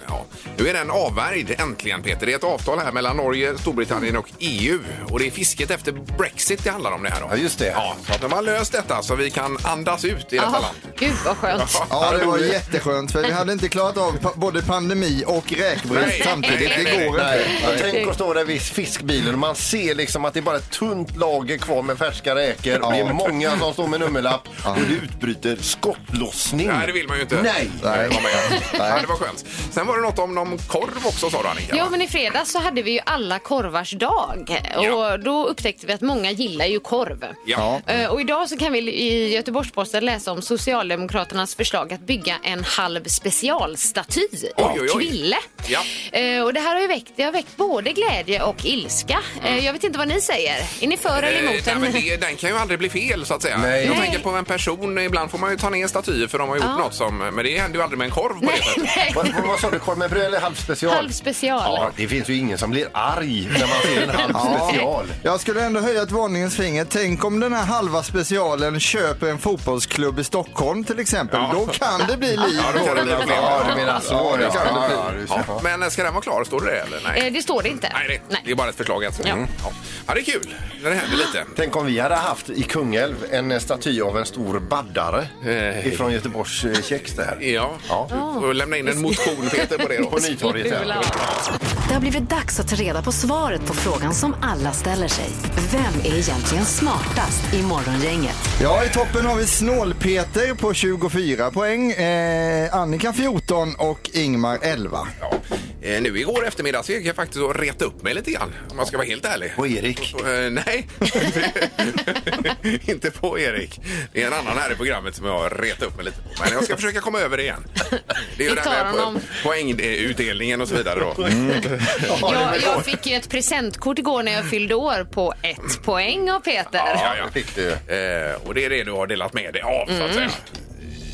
[SPEAKER 4] Nu är den avvärjd äntligen Peter. Det är ett avtal här mellan Norge, Storbritannien och EU. Och det är fisket efter Brexit det handlar om det här. Då.
[SPEAKER 5] Ja, just det.
[SPEAKER 4] Ja, så att de har löst detta så vi kan andas ut i detta
[SPEAKER 6] Jaha,
[SPEAKER 4] land.
[SPEAKER 6] Gud vad skönt.
[SPEAKER 7] Ja, det var jätteskönt för vi hade inte klarat av pa- både pandemi och
[SPEAKER 4] Nej.
[SPEAKER 7] räkbrist samtidigt.
[SPEAKER 4] Nej, nej,
[SPEAKER 7] Det går inte.
[SPEAKER 5] Nej, och tänk att stå där vid fiskbilen och man ser liksom att det är bara ett tunt lager kvar med färska räkor och det är
[SPEAKER 7] Ja.
[SPEAKER 5] många som står med nummerlapp och det utbryter skottlossning.
[SPEAKER 4] Nej, det vill man ju inte.
[SPEAKER 5] Nej!
[SPEAKER 4] Eh, vara med. Ja, det var skönt. Sen var det något om någon korv också sa du Annika.
[SPEAKER 6] Ja,
[SPEAKER 4] va?
[SPEAKER 6] men i fredags så hade vi ju alla korvars dag och
[SPEAKER 4] Ja.
[SPEAKER 6] då upptäckte vi att många gillar ju korv.
[SPEAKER 4] ja.
[SPEAKER 6] Eh, Och idag så kan vi i Göteborgs-Posten läsa om Socialdemokraternas förslag att bygga en halv specialstaty av
[SPEAKER 4] oj, oj.
[SPEAKER 6] Kville.
[SPEAKER 4] Ja.
[SPEAKER 6] Eh, Och det här har ju väckt, det har väckt både glädje och ilska. Eh, Jag vet inte vad ni säger. Är ni för eller emot
[SPEAKER 4] Mm. Eh,
[SPEAKER 6] den?
[SPEAKER 4] nej, men det, den kan ju aldrig bli fel så att säga.
[SPEAKER 5] Nej.
[SPEAKER 4] Jag
[SPEAKER 6] Nej.
[SPEAKER 4] tänker på en person, ibland får man ju ta ner statyer för de har gjort
[SPEAKER 6] Ja.
[SPEAKER 4] något som, men det händer ju aldrig med en korv på det sättet.
[SPEAKER 6] [LAUGHS] [LAUGHS] nej.
[SPEAKER 5] Vad, vad, vad sa du, korv med bröd eller halv special?
[SPEAKER 6] Halv special.
[SPEAKER 5] Ja, det finns ju ingen som blir arg när man ser en
[SPEAKER 4] [LAUGHS]
[SPEAKER 5] halv special.
[SPEAKER 7] Jag skulle ändå höja ett varningens finger. Tänk om den här halva specialen köper en fotbollsklubb i Stockholm till exempel. Då kan det bli liv.
[SPEAKER 4] Ja, då kan det bli problem.
[SPEAKER 5] Ja, du menar så.
[SPEAKER 7] Ja, det
[SPEAKER 5] ja,
[SPEAKER 7] kan det bli.
[SPEAKER 5] ja, ja,
[SPEAKER 4] Ja. Men eh, ska den vara klar? Står det det eller? Nej.
[SPEAKER 6] Eh, Det står det inte.
[SPEAKER 4] Nej, det, det är bara ett förslag än så länge.
[SPEAKER 6] Ja.
[SPEAKER 4] Ja. ja, det är kul när det händer lite.
[SPEAKER 5] Tänk om vi hade haft i Kungälv en staty av en stor baddare
[SPEAKER 4] Eh.
[SPEAKER 5] ifrån Göteborgs eh, kex där.
[SPEAKER 4] Ja.
[SPEAKER 5] Ja.
[SPEAKER 4] Du får lämna in en motion Peter på det
[SPEAKER 6] [LAUGHS]
[SPEAKER 4] då.
[SPEAKER 5] På Nytorget.
[SPEAKER 6] Kul.
[SPEAKER 5] där.
[SPEAKER 3] Det har blivit dags att ta reda på svaret på frågan som alla ställer sig. Vem är egentligen smartast i Morgongänget?
[SPEAKER 7] Ja, i toppen har vi Snål-Peter på 24 poäng, eh, Annika 14 och Ingmar 11.
[SPEAKER 4] Ja. Eh, Nu igår eftermiddag så gick jag faktiskt och reta upp mig lite grann om man ska vara helt ärlig.
[SPEAKER 5] Och Erik.
[SPEAKER 4] Eh, nej, [LAUGHS] inte på Erik. Det är en annan här i programmet som jag har retat upp mig lite på. Men jag ska försöka komma över det igen. Det är ju
[SPEAKER 6] Vi
[SPEAKER 4] det
[SPEAKER 6] tar
[SPEAKER 4] här med
[SPEAKER 6] honom. Mm.
[SPEAKER 4] po- poängutdelningen och så vidare. Då.
[SPEAKER 6] Jag, jag fick ju ett presentkort igår när jag fyllde år på ett poäng av Peter.
[SPEAKER 4] Ja, ja.
[SPEAKER 5] Fick du.
[SPEAKER 4] Eh, och det är det du har delat med dig av,
[SPEAKER 6] Mm.
[SPEAKER 4] så att säga.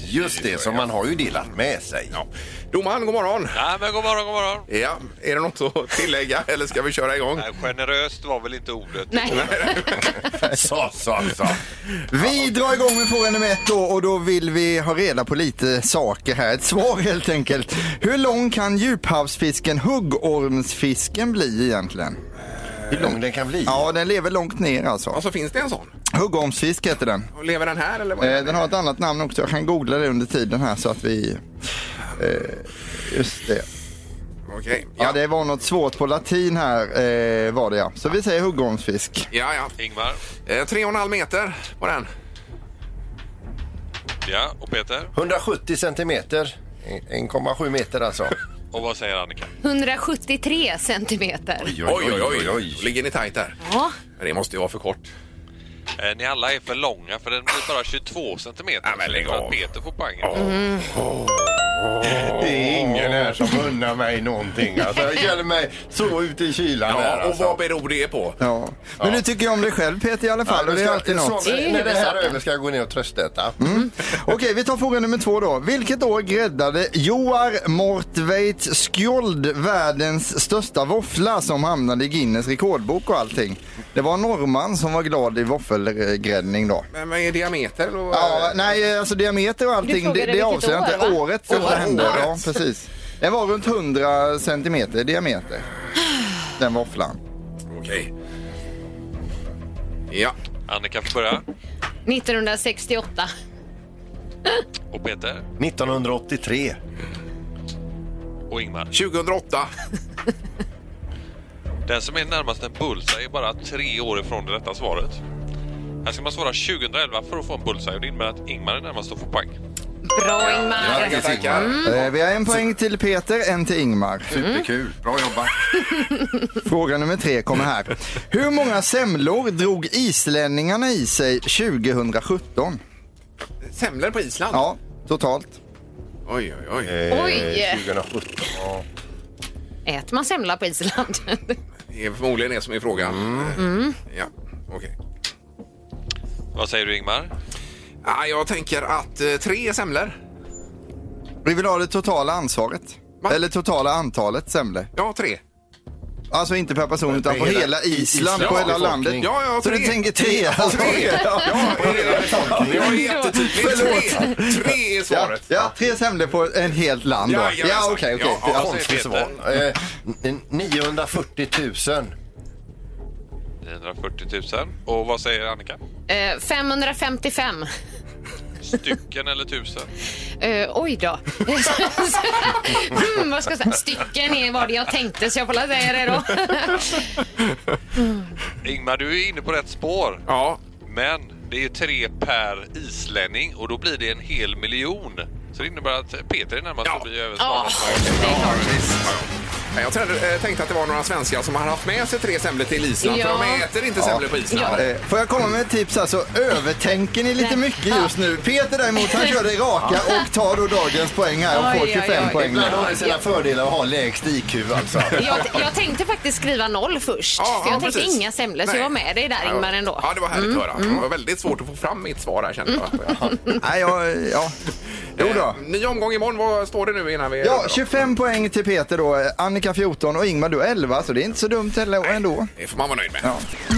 [SPEAKER 5] Just det, som man har ju delat med sig.
[SPEAKER 4] Ja. Domaren, god morgon!
[SPEAKER 9] Nej, men god morgon, god morgon.
[SPEAKER 4] Ja, är det något att tillägga eller ska vi köra igång?
[SPEAKER 9] Nej, generöst var väl inte ordet.
[SPEAKER 6] Nej.
[SPEAKER 5] Så, så, så.
[SPEAKER 7] Vi drar igång med fråga nummer ett då och då vill vi ha reda på lite saker här. Ett svar [LAUGHS] helt enkelt. Hur lång kan djuphavsfisken huggormsfisken bli egentligen?
[SPEAKER 5] Hur lång den kan bli?
[SPEAKER 7] Ja, den lever långt ner alltså.
[SPEAKER 4] Alltså, finns det en sån?
[SPEAKER 7] Huggormsfisk heter den.
[SPEAKER 4] Och Lever den här eller? Vad?
[SPEAKER 7] Eh, den har ett annat namn också. Jag kan googla det under tiden här så att vi... Eh, just det.
[SPEAKER 4] Okej.
[SPEAKER 7] Ja,
[SPEAKER 4] Ja.
[SPEAKER 7] det var något svårt på latin här eh, var det ja. Så vi säger huggormsfisk.
[SPEAKER 4] Ja,
[SPEAKER 9] [LAUGHS]
[SPEAKER 4] ja.
[SPEAKER 9] Ingmar.
[SPEAKER 4] Eh, Tre och en halv meter på den.
[SPEAKER 9] Ja, och Peter.
[SPEAKER 5] 170 centimeter. 1,7 meter [LAUGHS] alltså.
[SPEAKER 9] Och vad säger Annika?
[SPEAKER 6] 173 centimeter.
[SPEAKER 4] Oj, oj, oj. Ligger ni tajt där?
[SPEAKER 6] Ja.
[SPEAKER 4] Men Det måste ju vara för kort.
[SPEAKER 9] Eh, Ni alla är för långa för den blir bara 22 centimeter.
[SPEAKER 4] Ja, men lägg
[SPEAKER 9] Så att
[SPEAKER 4] av.
[SPEAKER 9] Peter får poängen.
[SPEAKER 5] Det är ingen här som unnar mig någonting. Alltså, jag känner mig så ute i kylan. här,
[SPEAKER 4] Ja, eh, och
[SPEAKER 5] alltså.
[SPEAKER 4] vad beror det på?
[SPEAKER 7] Ja. Men du tycker om dig själv Peter i alla fall
[SPEAKER 5] Ja,
[SPEAKER 7] och det är
[SPEAKER 5] ska-
[SPEAKER 7] alltid
[SPEAKER 5] så-
[SPEAKER 7] något.
[SPEAKER 5] När det här är över ska jag gå ner och tröstäta.
[SPEAKER 7] Okej, vi tar fråga nummer två då. Vilket år gräddade Joar Mortveit Skjold världens största våffla som hamnade i Guinness rekordbok och allting? Det var en norrman som var glad i våffelgräddning då.
[SPEAKER 4] Men vad är diameter? Och, eh,
[SPEAKER 7] Ja, nej, alltså diameter och
[SPEAKER 6] Du
[SPEAKER 7] allting,
[SPEAKER 6] frågade
[SPEAKER 7] det, det
[SPEAKER 6] vilket
[SPEAKER 7] avser jag
[SPEAKER 6] år,
[SPEAKER 7] inte.
[SPEAKER 6] va?
[SPEAKER 7] Året som det hände. Ja, precis. Den var runt 100 centimeter i diameter, den våfflan.
[SPEAKER 4] Okej. Ja.
[SPEAKER 9] Annika får börja.
[SPEAKER 6] 1968.
[SPEAKER 9] Och Peter.
[SPEAKER 5] 1983.
[SPEAKER 9] Och Ingmar.
[SPEAKER 4] 2008.
[SPEAKER 9] Den som är närmast en bullseye är bara tre år ifrån det rätta svaret. Här ska man svara 2011 för att få en bullseye och det innebär att Ingmar är närmast att få poäng.
[SPEAKER 6] Bra Ingmar!
[SPEAKER 4] Tackar, tackar.
[SPEAKER 6] Mm.
[SPEAKER 7] Eh, Vi har en poäng till Peter, en till Ingmar.
[SPEAKER 5] Superkul. Bra jobbat.
[SPEAKER 7] Fråga nummer tre kommer här. Hur många semlor drog islänningarna i sig 2017?
[SPEAKER 4] Semlor på Island?
[SPEAKER 7] Ja, totalt.
[SPEAKER 4] Oj, oj, oj.
[SPEAKER 6] Oj.
[SPEAKER 5] 2017. Ja.
[SPEAKER 6] Äter man semla på Island? [LAUGHS]
[SPEAKER 4] Det är förmodligen det som är frågan. Ja, okej.
[SPEAKER 9] Vad säger du Ingmar?
[SPEAKER 4] Ah, jag tänker att eh, tre semlor.
[SPEAKER 7] Vi vill ha det totala ansvaret.
[SPEAKER 4] Va?
[SPEAKER 7] Eller totala antalet semlor.
[SPEAKER 4] Ja, tre.
[SPEAKER 7] Alltså inte per person utan på
[SPEAKER 5] hela-
[SPEAKER 7] hela Island, på
[SPEAKER 4] Ja,
[SPEAKER 7] hela
[SPEAKER 5] befolkning.
[SPEAKER 7] landet.
[SPEAKER 4] Ja, ja,
[SPEAKER 7] Så
[SPEAKER 4] tre.
[SPEAKER 7] du tänker tre? Alltså.
[SPEAKER 4] Tre! [LAUGHS] Ja, det är- det var jättetydligt. Tre,
[SPEAKER 7] Förlåt.
[SPEAKER 4] tre är
[SPEAKER 7] Ja,
[SPEAKER 4] svaret.
[SPEAKER 7] ja, tre semlor på en helt land då.
[SPEAKER 4] Jajamensan.
[SPEAKER 7] Ja, okej, okej.
[SPEAKER 4] Ja,
[SPEAKER 7] Ja.
[SPEAKER 9] vad säger
[SPEAKER 5] Konstigt
[SPEAKER 9] Peter?
[SPEAKER 5] svar. Eh, n- 940 000.
[SPEAKER 9] 940 000. Och vad säger Annika?
[SPEAKER 6] Eh, 555.
[SPEAKER 9] Stycken eller tusen?
[SPEAKER 6] Eh, oj då. [LAUGHS] mm, vad ska jag säga? Stycken är vad det jag tänkte så jag får la säga det då.
[SPEAKER 4] [LAUGHS]
[SPEAKER 9] Ingmar, du är inne på rätt spår.
[SPEAKER 4] Ja,
[SPEAKER 9] Men det är tre per islänning och då blir det en hel miljon. Så det innebär att Peter är närmast
[SPEAKER 4] Ja.
[SPEAKER 9] att bli
[SPEAKER 6] Ja, Ah.
[SPEAKER 9] översvarad.
[SPEAKER 6] det är klart.
[SPEAKER 4] Nej, Jag tänkte, eh, tänkte att det var några svenskar som hade haft med sig tre semlor till Island
[SPEAKER 6] Ja.
[SPEAKER 4] för de äter inte semlor på Island.
[SPEAKER 6] Ja.
[SPEAKER 7] Eh, Får jag komma med ett tips här så övertänker ni lite mycket just nu. Peter däremot han kör det
[SPEAKER 6] [LAUGHS]
[SPEAKER 7] raka och tar då dagens poäng här och
[SPEAKER 6] Oj,
[SPEAKER 7] får
[SPEAKER 6] oj,
[SPEAKER 7] 25
[SPEAKER 6] oj.
[SPEAKER 7] poäng. nu.
[SPEAKER 5] Ibland har det sina fördelar att ha lägst IQ
[SPEAKER 6] [LAUGHS]
[SPEAKER 5] alltså.
[SPEAKER 6] Jag, jag tänkte faktiskt skriva noll först.
[SPEAKER 4] Ja,
[SPEAKER 6] för jag
[SPEAKER 4] ja,
[SPEAKER 6] tänkte
[SPEAKER 4] precis.
[SPEAKER 6] inga semlor, så
[SPEAKER 4] Nej.
[SPEAKER 6] jag var med dig där Ingmar ändå. Mm.
[SPEAKER 4] Ja, det var härligt att höra. Det var väldigt svårt att få fram mitt svar här kände jag.
[SPEAKER 7] Nej, jag, ja. Jo då.
[SPEAKER 4] Eh, Ny omgång imorgon. Vad står det nu innan vi...
[SPEAKER 7] Ja, 25 poäng till Peter då. Annika 14 och Ingmar du 11, så det är inte så dumt heller ändå.
[SPEAKER 4] Det får man vara nöjd med.
[SPEAKER 7] Ja.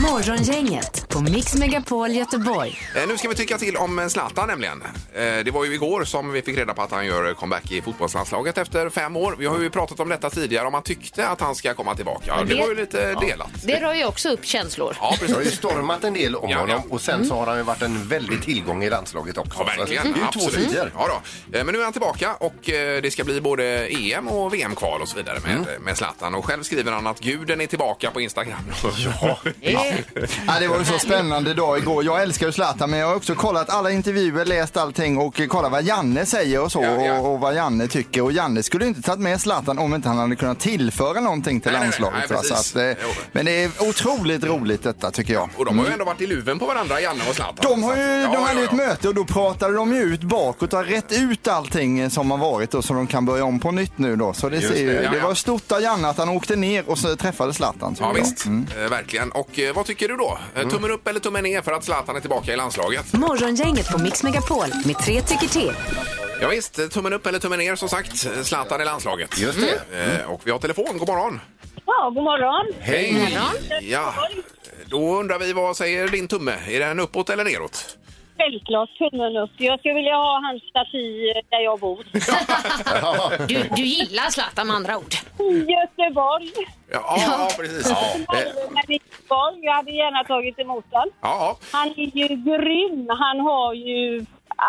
[SPEAKER 3] Morgongänget på Mix Megapol Göteborg.
[SPEAKER 4] Eh, Nu ska vi tycka till om eh, Zlatan nämligen. Eh, Det var ju igår som vi fick reda på att han gör eh, comeback i fotbollslandslaget efter fem år. Vi har ju pratat om detta tidigare, om man tyckte att han ska komma tillbaka. Det
[SPEAKER 6] det-
[SPEAKER 4] var ju lite delat.
[SPEAKER 6] Det rör ju också upp känslor.
[SPEAKER 4] Ja,
[SPEAKER 5] Det har ju
[SPEAKER 4] precis.
[SPEAKER 5] stormat en del om
[SPEAKER 4] Ja,
[SPEAKER 5] honom
[SPEAKER 4] ja. Mm.
[SPEAKER 5] och sen så har han ju varit en väldig tillgång i landslaget också.
[SPEAKER 4] Ja, verkligen.
[SPEAKER 5] Så Det är ju två
[SPEAKER 4] Absolut.
[SPEAKER 5] sidor.
[SPEAKER 4] Ja, då. Eh, Men nu är han tillbaka och eh, det ska bli både EM och VM-kval och så vidare med, med Zlatan. Och själv skriver han att guden är tillbaka på Instagram. [LAUGHS] Ja.
[SPEAKER 7] Ja, det var ju så spännande dag igår. Jag älskar ju Zlatan, men jag har också kollat alla intervjuer, läst allting och eh, kollat vad Janne säger och så
[SPEAKER 4] Ja, ja.
[SPEAKER 7] Och, och vad Janne tycker. Och Janne skulle ju inte tagit med Zlatan om inte han hade kunnat tillföra någonting till
[SPEAKER 4] Nej, nej, nej.
[SPEAKER 7] landslaget.
[SPEAKER 4] Nej,
[SPEAKER 7] va? Så
[SPEAKER 4] precis.
[SPEAKER 7] att, eh,
[SPEAKER 4] Jo.
[SPEAKER 7] men det är otroligt roligt detta tycker jag.
[SPEAKER 4] Och de har ju ändå varit i luven på varandra, Janne och Zlatan.
[SPEAKER 7] De, har ju,
[SPEAKER 4] Så att-
[SPEAKER 7] de
[SPEAKER 4] Ja,
[SPEAKER 7] hade ju
[SPEAKER 4] ja,
[SPEAKER 7] ett
[SPEAKER 4] ja.
[SPEAKER 7] möte och då pratade de ju ut bakåt och rätt ut allting eh, som har varit och så de kan börja om på nytt nu då. Så det, ser ju,
[SPEAKER 4] det,
[SPEAKER 7] det,
[SPEAKER 4] ja, ja.
[SPEAKER 7] var stort av Janne att han åkte ner och så träffade Zlatan. tycker
[SPEAKER 4] Ja,
[SPEAKER 7] jag.
[SPEAKER 4] visst. Eh, Verkligen. Och eh, vad tycker du då? Eh, Tummen upp eller tummen ner för att Zlatan är tillbaka i landslaget?
[SPEAKER 3] Morgongänget på Mix Megapol med tre tycker till.
[SPEAKER 4] Ja, visst, eh, tummen upp eller tummen ner som sagt. Eh, Zlatan i landslaget.
[SPEAKER 5] Just det.
[SPEAKER 4] Eh, Och vi har telefon. God morgon!
[SPEAKER 2] Ja, god morgon.
[SPEAKER 4] Hej! Ja. Eh, Då undrar vi, vad säger din tumme? Är den uppåt eller neråt?
[SPEAKER 2] Självklart tummen upp. Jag skulle vilja ha hans staty eh, där jag bor.
[SPEAKER 6] [LAUGHS]
[SPEAKER 5] [LAUGHS]
[SPEAKER 6] Du, du gillar Zlatan med andra ord.
[SPEAKER 2] I Göteborg.
[SPEAKER 4] Ja, ja. precis. Ja. Eh,
[SPEAKER 2] Men i Göteborg. Jag hade gärna tagit emot honom.
[SPEAKER 4] ja,
[SPEAKER 2] Han är ju grym. Han har ju...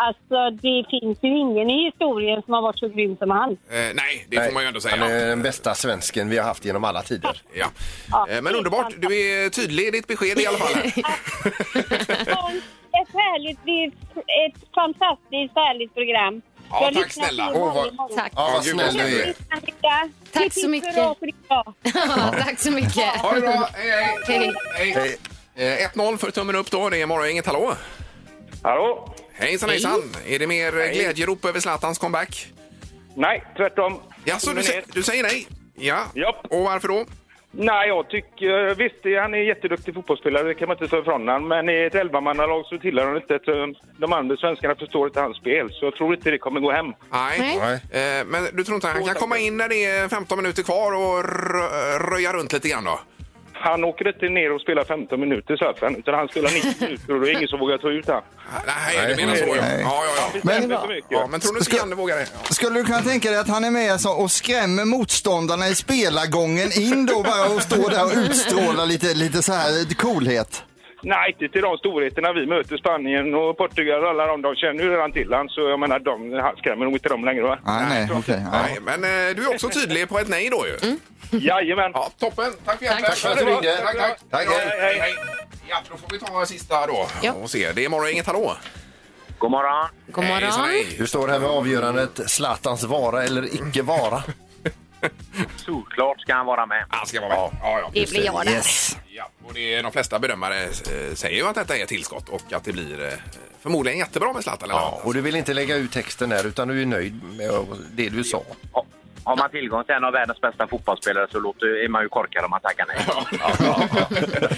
[SPEAKER 2] Alltså, det finns ju ingen i historien som har varit så grym som han.
[SPEAKER 4] ja. Eh, Nej, det får man ju ändå säga.
[SPEAKER 5] Han är den bästa svensken vi har haft genom alla tider.
[SPEAKER 4] Ja. Eh, Men underbart, du är tydlig i ditt besked i alla fall.
[SPEAKER 2] Ett härligt, det är ett fantastiskt härligt program.
[SPEAKER 4] Ja, tack
[SPEAKER 2] lyssnar
[SPEAKER 4] snälla.
[SPEAKER 2] till er
[SPEAKER 5] Åh, vad-
[SPEAKER 2] varje morgon.
[SPEAKER 6] Tack.
[SPEAKER 5] Ja, vad
[SPEAKER 4] gud,
[SPEAKER 5] snäll
[SPEAKER 4] vad
[SPEAKER 5] du är.
[SPEAKER 2] Annika,
[SPEAKER 6] Tack
[SPEAKER 2] tips
[SPEAKER 6] så mycket.
[SPEAKER 2] Hurra för ditt dag.
[SPEAKER 6] [LAUGHS] Tack så mycket.
[SPEAKER 4] Ha det bra! Hej, hej!
[SPEAKER 6] Hej.
[SPEAKER 4] hej.
[SPEAKER 5] Hej.
[SPEAKER 4] Eh, 1-0 för tummen upp då. Det är morgon, inget hallå.
[SPEAKER 8] Hallå?
[SPEAKER 4] Hejsan hejsan! Är det mer Hej. glädjerop över Zlatans comeback?
[SPEAKER 8] Nej, tvärtom.
[SPEAKER 4] Jaså, du,
[SPEAKER 8] Tummen
[SPEAKER 4] sä-
[SPEAKER 8] ner.
[SPEAKER 4] du säger nej? Ja.
[SPEAKER 8] Japp.
[SPEAKER 4] Och varför då?
[SPEAKER 8] Nej, jag tycker... Visst, det- han är en jätteduktig fotbollsspelare, det kan man inte ta ifrån honom. Men i ett elvamannalag så tillhör han inte... ett- De andra svenskarna förstår inte hans spel, så jag tror inte det kommer gå hem.
[SPEAKER 4] Nej.
[SPEAKER 5] Nej.
[SPEAKER 4] Eh, Men du tror inte han kan komma in när det är 15 minuter kvar och rö- röja runt lite grann då?
[SPEAKER 8] Han åker inte ner och spelar 15 minuter, så att han, utan han spelar 90 minuter och då är det ingen som vågar ta ut honom.
[SPEAKER 4] Nej, du menar så ja.
[SPEAKER 7] Nej.
[SPEAKER 4] Ja, ja, ja.
[SPEAKER 7] Men-
[SPEAKER 8] Det är så mycket.
[SPEAKER 4] ja men tror du inte
[SPEAKER 7] Ska-
[SPEAKER 4] Janne vågar det?
[SPEAKER 7] Skulle du kunna tänka dig att han är med så- och skrämmer motståndarna i spelargången in då bara och står där och utstrålar lite, lite så här coolhet?
[SPEAKER 8] Nej, inte till de storheterna vi möter, Spanien och Portugal och alla de, de känner ju redan till han, så jag menar, de han skrämmer nog inte dem längre va?
[SPEAKER 7] Ah, Nej, nej, okej. ja.
[SPEAKER 4] Nej, men eh, du är också tydlig på ett nej då ju.
[SPEAKER 8] Jajamän!
[SPEAKER 4] Ja, toppen! Tack för hjälpen!
[SPEAKER 6] Tack
[SPEAKER 5] Mm. för att du ringde.
[SPEAKER 4] Tack, tack!
[SPEAKER 5] Tack,
[SPEAKER 4] Ja,
[SPEAKER 5] hej.
[SPEAKER 4] hej, hej. Ja, då får vi ta sista då
[SPEAKER 6] Ja.
[SPEAKER 4] och se. Det är morgon, inget hallå!
[SPEAKER 1] God morgon.
[SPEAKER 6] God morgon.
[SPEAKER 4] Hejsan, hej.
[SPEAKER 5] Du står här med avgörandet Zlatans vara eller icke vara.
[SPEAKER 1] Såklart ska han vara med.
[SPEAKER 4] Han ska vara med. Ja, ja.
[SPEAKER 6] Det blir jag där.
[SPEAKER 5] Yes.
[SPEAKER 4] Ja, och det är, de flesta bedömare eh, säger ju att detta är ett tillskott och att det blir eh, förmodligen jättebra med Zlatan. Eller
[SPEAKER 5] Ja,
[SPEAKER 4] vad?
[SPEAKER 5] och du vill inte lägga ut texten där utan du är nöjd med det du sa.
[SPEAKER 1] Ja, Har man tillgång till en av världens bästa fotbollsspelare så låter, är man ju korkad om man tackar nej.
[SPEAKER 4] [LAUGHS]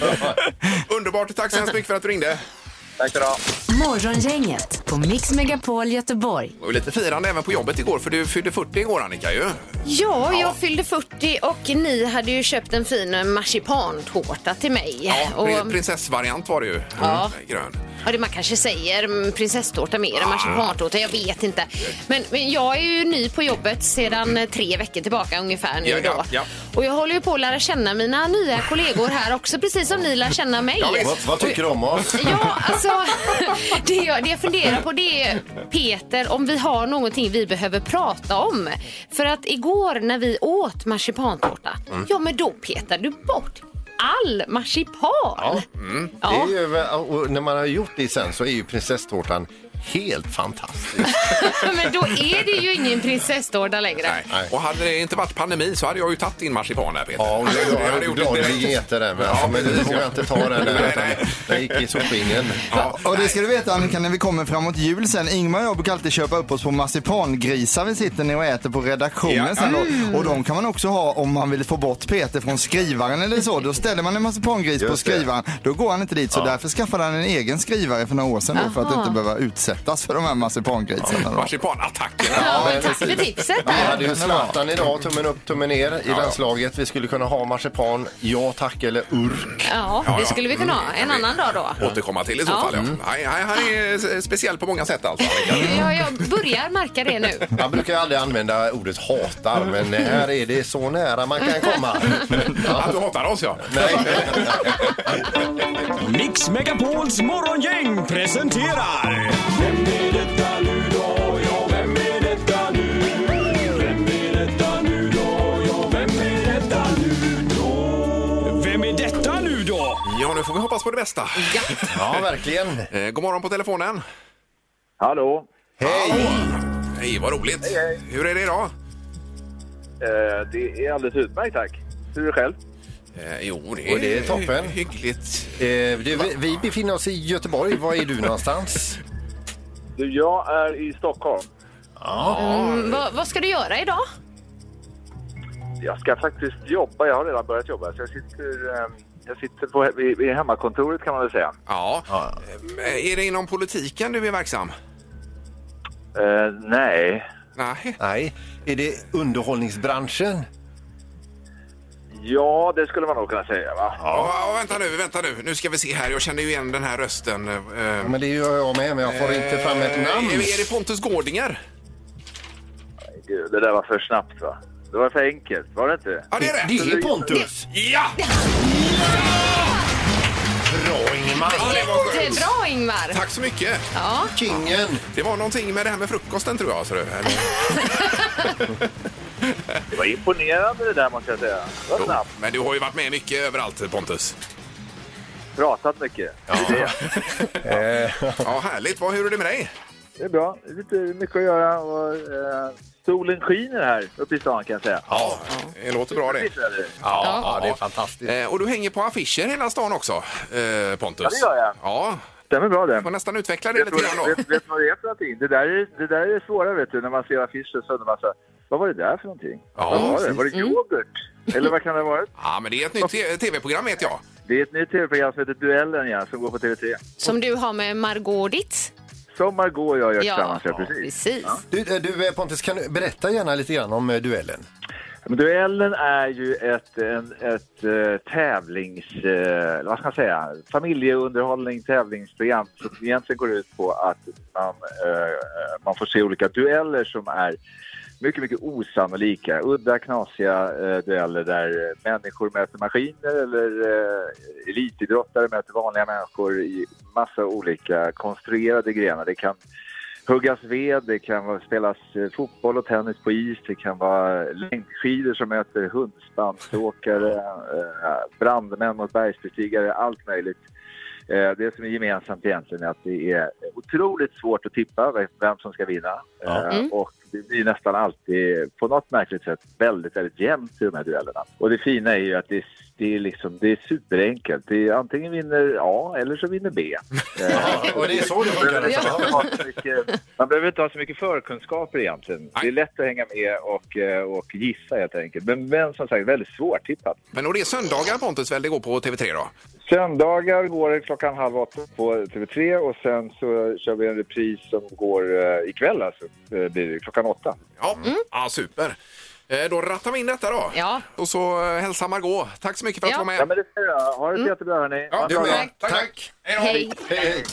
[SPEAKER 4] Underbart! Tack så hemskt mycket för att du ringde.
[SPEAKER 1] Tack ska du ha.
[SPEAKER 3] Morgongänget på Mix Megapol Göteborg.
[SPEAKER 4] Och lite firande även på jobbet igår, för du fyllde 40 igår Annika ju.
[SPEAKER 6] Ja, jag fyllde 40 och ni hade ju köpt en fin marsipantårta till mig.
[SPEAKER 4] Ja,
[SPEAKER 6] [LAUGHS] och,
[SPEAKER 4] pri- prinsessvariant var det ju.
[SPEAKER 6] Ja.
[SPEAKER 4] Mm, Grön.
[SPEAKER 6] ja, det man kanske säger mm, prinsesstårta mer
[SPEAKER 4] Ah.
[SPEAKER 6] än marsipantårta, jag vet inte. Men, men jag är ju ny på jobbet sedan eh, tre veckor tillbaka ungefär nu
[SPEAKER 4] Ja, ja,
[SPEAKER 6] då.
[SPEAKER 4] ja.
[SPEAKER 6] Och jag håller ju på att lära känna mina nya kollegor här också, precis som ni lär känna mig.
[SPEAKER 4] Ja, visst.
[SPEAKER 5] Vad, vad tycker du om oss?
[SPEAKER 6] Ja, alltså [LAUGHS] det jag, det jag funderar på det är Peter, om vi har någonting vi behöver prata om. För att igår när vi åt marsipantårta, ja men då petade du bort all marsipan. Ja,
[SPEAKER 5] Det är ju, och när man har gjort det sen så är ju prinsesstårtan helt fantastisk.
[SPEAKER 4] [LAUGHS]
[SPEAKER 6] [LAUGHS] men då är det ju ingen prinsesstårta längre.
[SPEAKER 4] Nej. Och hade det inte varit pandemi så hade jag ju tagit din marsipan här Peter.
[SPEAKER 5] Ja,
[SPEAKER 4] [LAUGHS]
[SPEAKER 5] och jag,
[SPEAKER 4] Det
[SPEAKER 5] jag
[SPEAKER 4] hade
[SPEAKER 5] är
[SPEAKER 4] gjort
[SPEAKER 5] glad
[SPEAKER 4] lite-
[SPEAKER 5] att vi äter den. Men, alltså, men du vågar inte ta den där.
[SPEAKER 4] Nej,
[SPEAKER 5] utan
[SPEAKER 4] nej.
[SPEAKER 5] Den gick i sopingen.
[SPEAKER 4] Ja,
[SPEAKER 7] Och det
[SPEAKER 4] nej.
[SPEAKER 7] ska du veta Annika, när vi kommer framåt jul sen. Ingmar och jag brukar alltid köpa upp oss på marsipangrisar vi sitter ner och äter på redaktionen
[SPEAKER 4] Ja.
[SPEAKER 7] sen då. Och de kan man också ha om man vill få bort Peter från skrivaren eller så. Då ställer man en marsipangris på
[SPEAKER 5] Just det.
[SPEAKER 7] skrivaren. Då går han inte dit. Så därför skaffade han en egen skrivare för några år sedan då, för att
[SPEAKER 6] Aha.
[SPEAKER 7] inte behöva utsättas för de här marsipangrisarna. Då.
[SPEAKER 4] Marsipanattacken.
[SPEAKER 6] Ja, men
[SPEAKER 5] men
[SPEAKER 6] tack för tipset där.
[SPEAKER 5] Vi hade ju Zlatan idag, tummen upp, tummen ner i
[SPEAKER 4] ja.
[SPEAKER 5] landslaget. Vi skulle kunna ha marsipan, ja tack eller urk.
[SPEAKER 6] Ja, det skulle vi kunna ha en annan dag då.
[SPEAKER 4] Återkomma till i så
[SPEAKER 6] Ja.
[SPEAKER 4] fall. Ja.
[SPEAKER 5] Mm.
[SPEAKER 4] Nej, nej, han är s- speciell på många sätt alltså. Annika.
[SPEAKER 6] Ja, jag börjar märka det nu.
[SPEAKER 5] Man brukar ju aldrig använda ordet hatar, men här är det så nära man kan komma.
[SPEAKER 4] Att du hatar oss ja.
[SPEAKER 5] Nej.
[SPEAKER 10] [LAUGHS] Mix Megapols morgongäng presenterar... Vem är detta nu då?
[SPEAKER 4] Ja, nu får vi hoppas på det bästa.
[SPEAKER 5] Ja, verkligen.
[SPEAKER 4] Eh, god morgon på telefonen.
[SPEAKER 11] Hallå!
[SPEAKER 5] Hej!
[SPEAKER 4] Hej, vad roligt. Hur är det idag?
[SPEAKER 11] Eh, det är alldeles utmärkt, tack. Hur är det själv?
[SPEAKER 4] Eh, jo,
[SPEAKER 5] Och det är
[SPEAKER 4] hy-
[SPEAKER 5] toppen.
[SPEAKER 4] Hyggligt.
[SPEAKER 5] Eh, du, vi- vi befinner oss i Göteborg. Var är du någonstans?
[SPEAKER 11] Du, jag är i Stockholm.
[SPEAKER 6] Mm, vad, vad ska du göra idag?
[SPEAKER 11] Jag ska faktiskt jobba. Jag har redan börjat jobba. Så jag sitter, eh, jag sitter på, vid, vid hemmakontoret kan man väl säga.
[SPEAKER 4] Ja. Eh, Är det inom politiken du är verksam?
[SPEAKER 11] Eh, nej,
[SPEAKER 4] Nej.
[SPEAKER 5] Nej. Är det underhållningsbranschen?
[SPEAKER 11] ja det skulle man nog kunna säga va?
[SPEAKER 4] Ja. vänta nu, vänta nu. Nu ska vi se här. Jag känner ju igen den här rösten. eh,
[SPEAKER 5] Ja, Men det gör jag med, men jag får inte fram ett namn.
[SPEAKER 4] eh, Är det Pontus Gårdinger?
[SPEAKER 11] Gud, det där var för snabbt va? Det var för enkelt, var det inte?
[SPEAKER 4] Ja, det är rätt.
[SPEAKER 5] Det är Pontus.
[SPEAKER 4] Ja!
[SPEAKER 5] Bra Ingemar.
[SPEAKER 4] ja det var
[SPEAKER 6] Det är
[SPEAKER 4] skönt.
[SPEAKER 6] bra Ingmar.
[SPEAKER 4] Tack så mycket.
[SPEAKER 6] Ja.
[SPEAKER 5] Kingen.
[SPEAKER 4] Det var någonting med det här med frukosten tror jag. Så det,
[SPEAKER 11] [LAUGHS] Det var imponerande det där måste jag säga. Det var snabbt.
[SPEAKER 4] men du har ju varit med mycket överallt Pontus.
[SPEAKER 11] Pratat mycket.
[SPEAKER 4] [LAUGHS] Ja, härligt. Vad, hur är det med dig?
[SPEAKER 11] det är bra. Det är lite mycket att göra och eh, solen skiner här uppe i stan kan jag säga.
[SPEAKER 4] Ja, det låter bra det.
[SPEAKER 5] Ja, det är fantastiskt.
[SPEAKER 4] Eh, Och du hänger på affischer hela stan också, eh, Pontus.
[SPEAKER 11] Ja, det gör jag.
[SPEAKER 4] Ja,
[SPEAKER 11] Stämmer bra det.
[SPEAKER 4] får nästan utveckla det
[SPEAKER 11] Vet
[SPEAKER 4] lite grann
[SPEAKER 11] du
[SPEAKER 4] då.
[SPEAKER 11] vet- vet du vad det är för någonting? Det där är, det där är svårare vet du, när man ser affischer så undrar man så här, vad var det där för någonting?
[SPEAKER 4] Ja, Mm.
[SPEAKER 11] vad var det? Var det yoghurt? Eller vad kan det ha varit?
[SPEAKER 4] [LAUGHS] Ja, men det är ett nytt te- tv-program vet jag.
[SPEAKER 11] Det är ett nytt tv-program som heter Duellen ja, som går på TV3.
[SPEAKER 6] Som du har med Margot Dietz.
[SPEAKER 11] Sommar går och jag gör
[SPEAKER 6] Ja.
[SPEAKER 11] tillsammans, ja precis.
[SPEAKER 6] Precis.
[SPEAKER 5] Du, eh, du eh, Pontus, kan du berätta gärna lite grann om eh, duellen?
[SPEAKER 11] Men duellen är ju ett, en, ett eh, tävlings... Eh, vad ska man säga? Familjeunderhållning, tävlingsprogram som egentligen går ut på att man, eh, man får se olika dueller som är mycket, mycket osannolika. Udda, knasiga eh, dueller där eh, människor möter maskiner eller eh, elitidrottare möter vanliga människor i massa olika konstruerade grenar. Det kan huggas ved, det kan vara, spelas eh, fotboll och tennis på is, det kan vara eh, längdskidor som möter hundspandsåkare, eh, brandmän mot bergsbestigare, allt möjligt. Eh, Det som är gemensamt egentligen är att det är otroligt svårt att tippa vem- vem som ska vinna. Eh, Och det blir nästan alltid, på något märkligt sätt, väldigt, väldigt jämnt i de här duellerna. Och det fina är ju att det är, det är, liksom, det är superenkelt. Det är, antingen vinner A eller så vinner B. Eh,
[SPEAKER 5] Och det är så det funkar?
[SPEAKER 11] man,
[SPEAKER 5] alltså,
[SPEAKER 11] behöver
[SPEAKER 5] va?
[SPEAKER 11] inte ha så mycket, man behöver inte ha så mycket förkunskaper egentligen. Det är lätt att hänga med och, eh, och gissa helt enkelt. Men, men som sagt, väldigt svårtippat.
[SPEAKER 4] Men och det är söndagar Pontus väl det går på TV3 då?
[SPEAKER 11] Söndagar går det klockan halv åtta på TV3 och sen så kör vi en repris som går eh, ikväll alltså. Eh, blir det klockan åtta.
[SPEAKER 4] Ja, ja super. Eh, Då rattar vi in detta då.
[SPEAKER 6] Mm. Ja.
[SPEAKER 4] Och så eh, hälsa Margot. Tack så mycket för att
[SPEAKER 6] Ja.
[SPEAKER 4] du var
[SPEAKER 11] Ja
[SPEAKER 4] med.
[SPEAKER 11] men det ska jag göra. Ha det så jättebra hörni.
[SPEAKER 4] Ja,
[SPEAKER 5] Du med.
[SPEAKER 4] Tack.
[SPEAKER 5] Tack.
[SPEAKER 6] Hej.
[SPEAKER 5] Hej, hej.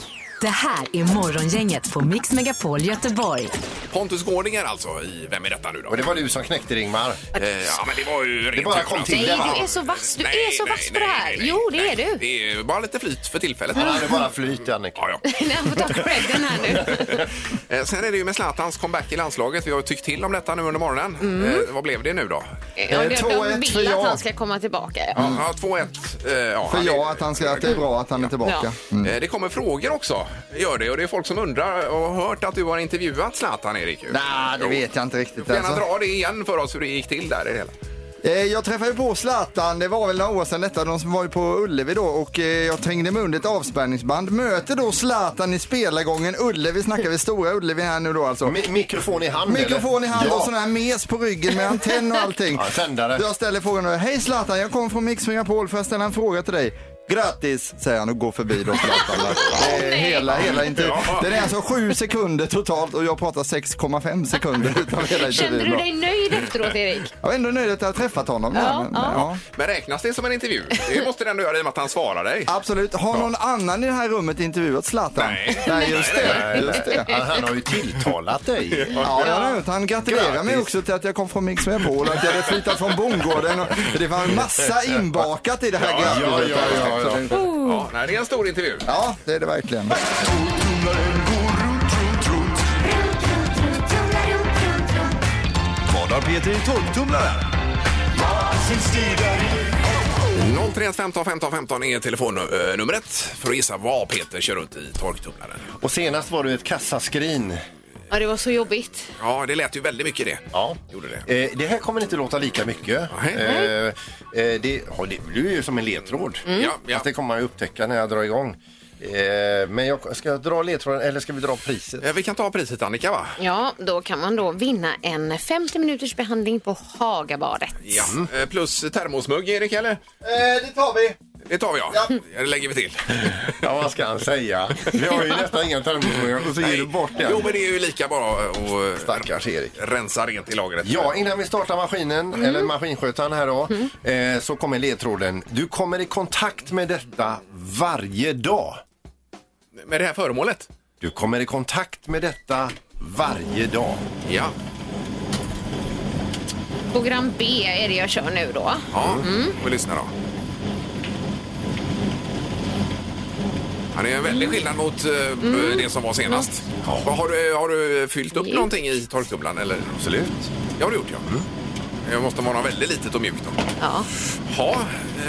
[SPEAKER 3] Det här är Morgongänget på Mix Megapol Göteborg.
[SPEAKER 4] Pontus Gårdinger alltså i Vem är detta nu då?
[SPEAKER 5] Och det var du som knäckte det, Ingmar.
[SPEAKER 4] Eh, Ja, men det var ju rent
[SPEAKER 5] bara
[SPEAKER 4] tur,
[SPEAKER 5] kom
[SPEAKER 4] alltså.
[SPEAKER 5] till.
[SPEAKER 6] Nej,
[SPEAKER 5] Det var-
[SPEAKER 6] du är så vass. Du
[SPEAKER 4] Nej,
[SPEAKER 6] är så
[SPEAKER 4] nej,
[SPEAKER 6] vass på det
[SPEAKER 4] nej,
[SPEAKER 6] här.
[SPEAKER 4] nej, nej.
[SPEAKER 6] Jo, det är du.
[SPEAKER 4] Det är ju bara lite flyt för tillfället.
[SPEAKER 5] Han hade bara flyt, Annika.
[SPEAKER 4] Ja, ja.
[SPEAKER 6] [LAUGHS]
[SPEAKER 4] [LAUGHS]
[SPEAKER 6] Nej, han får ta credden här nu.
[SPEAKER 4] Eh, Sen är det ju med Zlatans comeback i landslaget. Vi har ju tyckt till om detta nu under morgonen.
[SPEAKER 7] Mm.
[SPEAKER 4] Eh, vad blev det nu då?
[SPEAKER 11] Eh,
[SPEAKER 6] Ja, det-
[SPEAKER 7] 2-1
[SPEAKER 6] de
[SPEAKER 7] för
[SPEAKER 6] vill
[SPEAKER 7] jag.
[SPEAKER 6] att han ska komma tillbaka.
[SPEAKER 4] Ja, ja, 2-1. Eh, ja,
[SPEAKER 7] Mm. För
[SPEAKER 4] han är-
[SPEAKER 7] jag att han ska, att det är bra att han är tillbaka. Mm.
[SPEAKER 4] Eh, Det kommer frågor också. Gör det. Och det är folk som undrar och har hört att du har intervjuat Zlatan, Erik. ju.
[SPEAKER 7] Nej, det
[SPEAKER 4] Jo.
[SPEAKER 7] vet jag inte riktigt.
[SPEAKER 4] Du får gärna
[SPEAKER 7] alltså.
[SPEAKER 4] dra det igen för oss hur det gick till där i det
[SPEAKER 7] [LAUGHS]
[SPEAKER 4] hela.
[SPEAKER 7] Eh, Jag träffade ju på Zlatan, det var väl några år sedan detta, de som var ju på Ullevi då och eh, jag trängde mig under ett avspärrningsband. Möter då Zlatan i spelargången Ullevi, snackar vi stora Ullevi här nu då alltså.
[SPEAKER 5] Mi- mikrofon i hand,
[SPEAKER 7] Mikrofon i hand
[SPEAKER 5] eller?
[SPEAKER 7] och sån här mes på ryggen med antenn och allting.
[SPEAKER 5] [LAUGHS] Ja, sändare.
[SPEAKER 7] Jag ställer frågan nu, hej Zlatan, jag kommer från Mix Megapol för jag ställa en fråga till dig. Grattis, säger han och går förbi då
[SPEAKER 5] [LAUGHS]
[SPEAKER 7] Zlatan. Det är hela, hela intervjun. Den är alltså sju sekunder totalt och jag pratar 6,5 sekunder utav hela intervjun.
[SPEAKER 6] Kände du
[SPEAKER 7] då.
[SPEAKER 6] dig nöjd efteråt, Erik?
[SPEAKER 7] Jag är ändå nöjd att jag har träffat honom. där,
[SPEAKER 6] Ja,
[SPEAKER 7] men,
[SPEAKER 6] ja.
[SPEAKER 7] ja.
[SPEAKER 4] Men räknas det som en intervju? Det måste den ändå göra i och med att han svarar dig.
[SPEAKER 7] Absolut. Har någon annan i det här rummet intervjuat Zlatan?
[SPEAKER 4] Nej.
[SPEAKER 7] [LAUGHS] Nej, just det. Just det.
[SPEAKER 5] Han, han har ju tilltalat dig.
[SPEAKER 7] Ja, jag har gjort. Han gratulerar
[SPEAKER 5] Grattis.
[SPEAKER 7] mig också till att jag kom från Mix Megapol, att jag hade flyttat från bondgården. Och det var en
[SPEAKER 5] [LAUGHS]
[SPEAKER 7] massa inbakat i det här
[SPEAKER 5] ja,
[SPEAKER 7] grattiset.
[SPEAKER 5] ja, ja, ja.
[SPEAKER 7] ja.
[SPEAKER 4] Ja, nej, det är en stor intervju.
[SPEAKER 7] ja, det är det verkligen.
[SPEAKER 10] Vad har Peter i tolvtumlaren?
[SPEAKER 4] 031 15 15 15 är telefonnumret för att gissa vad Peter kör runt i torktumlaren.
[SPEAKER 5] Och senast var du ett kassaskrin.
[SPEAKER 6] Ja, det var så jobbigt.
[SPEAKER 4] Ja, det lät ju väldigt mycket det.
[SPEAKER 5] Ja.
[SPEAKER 4] Gjorde det.
[SPEAKER 5] Eh, det här kommer inte låta lika mycket.
[SPEAKER 4] Nej.
[SPEAKER 5] Eh, eh, det, ja, det blir ju som en ledtråd.
[SPEAKER 4] Ja, ja.
[SPEAKER 5] Fast det kommer man ju upptäcka när jag drar igång. Eh, men jag, ska jag dra ledtråden eller ska vi dra priset?
[SPEAKER 4] Eh, Vi kan ta priset Annika va?
[SPEAKER 6] Ja, då kan man då vinna en 50 minuters behandling på Hagabadet.
[SPEAKER 4] Ja. Eh, Plus termosmugg Erik eller?
[SPEAKER 7] det tar vi.
[SPEAKER 4] Det tar vi ja. Det lägger vi
[SPEAKER 5] [LAUGHS]
[SPEAKER 4] till.
[SPEAKER 5] Ja, vad ska han säga? Vi har ju nästan inga termosmuggar och så ger du bort den.
[SPEAKER 4] Jo men det är ju lika bra att eh,
[SPEAKER 5] Stackars Erik.
[SPEAKER 4] rensa rent i lagret.
[SPEAKER 5] Ja, innan vi startar maskinen,
[SPEAKER 4] Mm.
[SPEAKER 5] eller maskinskötaren här då, eh, så kommer ledtråden. Du kommer i kontakt med detta varje dag.
[SPEAKER 4] Eh, Med det här föremålet?
[SPEAKER 5] Du kommer i kontakt med detta varje dag.
[SPEAKER 4] Ja.
[SPEAKER 6] Program B är det jag kör nu då.
[SPEAKER 4] Ja,
[SPEAKER 5] Mm.
[SPEAKER 4] Mm. får vi lyssna då. Ja, det är en väldig skillnad mot eh, b- det som var senast. Vad Har, du, har du fyllt upp
[SPEAKER 6] Mjukt.
[SPEAKER 4] någonting i torktumlaren? Eller?
[SPEAKER 5] Absolut. Mm.
[SPEAKER 4] Det har du gjort, ja. Det måste vara något väldigt litet och mjukt. Då.
[SPEAKER 6] Ja.
[SPEAKER 4] Ja,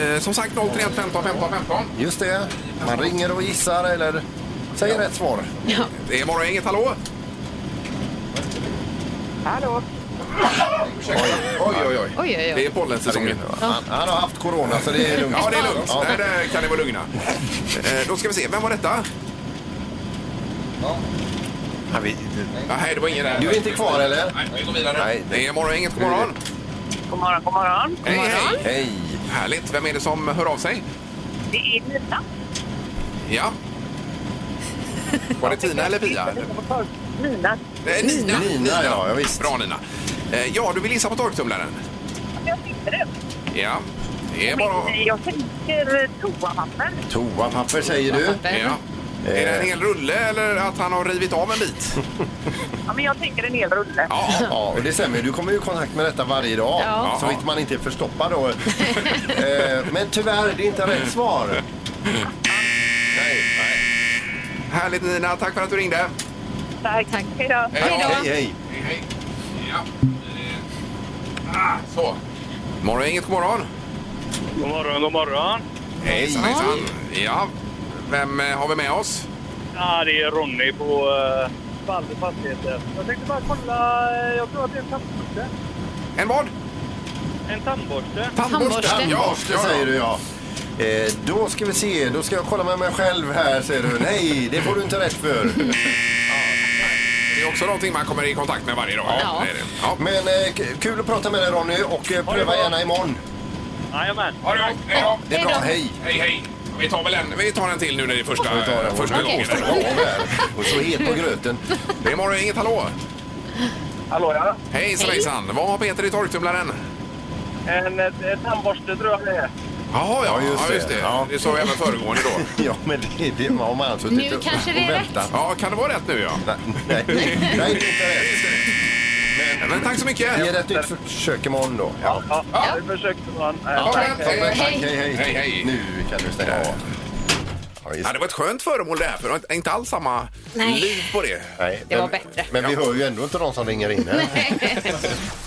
[SPEAKER 4] eh, som sagt 031 15 15 15.
[SPEAKER 5] Just det. Man ringer och gissar eller säger rätt svar.
[SPEAKER 4] Det är morgongänget, hallå?
[SPEAKER 2] Hallå?
[SPEAKER 4] Oj, oj, oj.
[SPEAKER 6] Oj, oj,
[SPEAKER 4] Det är
[SPEAKER 6] oj.
[SPEAKER 4] pollensäsongen.
[SPEAKER 5] Han, han har haft corona så det är lugnt.
[SPEAKER 4] Ja, det är lugnt.
[SPEAKER 5] Ja.
[SPEAKER 4] Där, där kan ni vara lugna. Eh, Då ska vi se, vem var detta?
[SPEAKER 5] Ja, vi-
[SPEAKER 4] Ja, hej, det var ingen där.
[SPEAKER 5] Du är inte kvar, eller?
[SPEAKER 4] Nej, vi går vidare.
[SPEAKER 5] Nej.
[SPEAKER 4] Det är morgon, inget god morgon.
[SPEAKER 2] God morgon, god morgon.
[SPEAKER 4] Hej, hej.
[SPEAKER 5] Hej!
[SPEAKER 4] Härligt. Vem är det som hör av sig?
[SPEAKER 2] Det är Nina.
[SPEAKER 4] Ja. Var det Tina eller Pia? eller?
[SPEAKER 2] Nina.
[SPEAKER 4] Eh, Nina.
[SPEAKER 5] Nina, ja, ja, visst.
[SPEAKER 4] Bra, Nina. Eh, Ja, du vill gissa på torktumlaren?
[SPEAKER 2] Jag sitter det.
[SPEAKER 4] Ja. Det är bara...
[SPEAKER 2] Jag tänker eh, toapapper.
[SPEAKER 5] Toapapper säger du.
[SPEAKER 4] Ja. Är det
[SPEAKER 5] Eh.
[SPEAKER 4] en hel rulle eller att han har rivit av en bit?
[SPEAKER 2] Ja, men jag tänker en hel rulle.
[SPEAKER 4] Ja.
[SPEAKER 5] Ja, och det stämmer. ju. Du kommer ju i kontakt med detta varje dag.
[SPEAKER 6] Ja.
[SPEAKER 5] Så vitt man inte är förstoppad då. Eh, Men tyvärr, det är inte rätt svar. Nej, nej.
[SPEAKER 4] Härligt Nina, tack för att du ringde.
[SPEAKER 2] Tack. Tack. Hej
[SPEAKER 4] Eh,
[SPEAKER 2] då.
[SPEAKER 5] Hej, hej.
[SPEAKER 4] Hej, hej. Ja. Eh, Ah, så. Morgon, inget god morgon.
[SPEAKER 8] God morgon, god morgon.
[SPEAKER 4] Hejsan, hejsan. Ja. Vem eh, har vi med oss?
[SPEAKER 8] Ja, det är Ronny på eh, Balder Fastigheter. Jag tänkte bara kolla, eh, jag tror att det är en tandborste.
[SPEAKER 4] En vad?
[SPEAKER 8] En tandborste?
[SPEAKER 6] Tandborste.
[SPEAKER 5] Tandborste säger du ja. Eh, Då ska vi se, då ska jag kolla med mig själv här säger du. Nej, det får du inte rätt för.
[SPEAKER 4] Det är också någonting man kommer i kontakt med varje dag.
[SPEAKER 6] Ja.
[SPEAKER 4] det är det. ja.
[SPEAKER 5] Men eh, k- kul att prata med dig Ronny och eh, pröva gärna imorgon.
[SPEAKER 8] Jajamän.
[SPEAKER 4] Ha det gott. Hej då.
[SPEAKER 5] Det är bra, hej.
[SPEAKER 4] Hej, hej. Vi tar väl en, vi tar en till nu när det är första,
[SPEAKER 5] Vi tar den.
[SPEAKER 4] första
[SPEAKER 5] Okej.
[SPEAKER 4] gången.
[SPEAKER 5] Och så het på gröten. [LAUGHS]
[SPEAKER 4] Det är morgon, inget hallå.
[SPEAKER 8] Hallå ja.
[SPEAKER 4] Hejsan, hejsan. Vad har Peter i torktumlaren?
[SPEAKER 8] En, tandborste tror jag det är.
[SPEAKER 4] Jaha, ja, ja, just det. det.
[SPEAKER 5] Ja.
[SPEAKER 4] sa jag även föregående då.
[SPEAKER 5] Ja, men det, det har man suttit
[SPEAKER 6] Nu
[SPEAKER 5] och,
[SPEAKER 6] kanske det är
[SPEAKER 5] och väntat.
[SPEAKER 4] Ja, kan det vara rätt nu ja?
[SPEAKER 5] Nej, nej, nej, det är inte rätt.
[SPEAKER 4] Men, men tack så mycket.
[SPEAKER 5] Ge det ett nytt försök imorgon då. Ja.
[SPEAKER 8] Ja, vi försökte man.
[SPEAKER 4] Ja, men,
[SPEAKER 5] Toppen,
[SPEAKER 4] eh,
[SPEAKER 5] tack, hej, hej.
[SPEAKER 4] Hej, hej.
[SPEAKER 5] Nu kan du stänga av. Ja, just.
[SPEAKER 4] Ja, det var ett skönt föremål det här, för det var inte alls samma
[SPEAKER 6] Nej.
[SPEAKER 4] liv på det.
[SPEAKER 5] Nej,
[SPEAKER 6] Det var
[SPEAKER 5] men-
[SPEAKER 6] bättre.
[SPEAKER 5] Men vi hör ju ändå inte de som ringer in.
[SPEAKER 4] [LAUGHS]
[SPEAKER 5] här.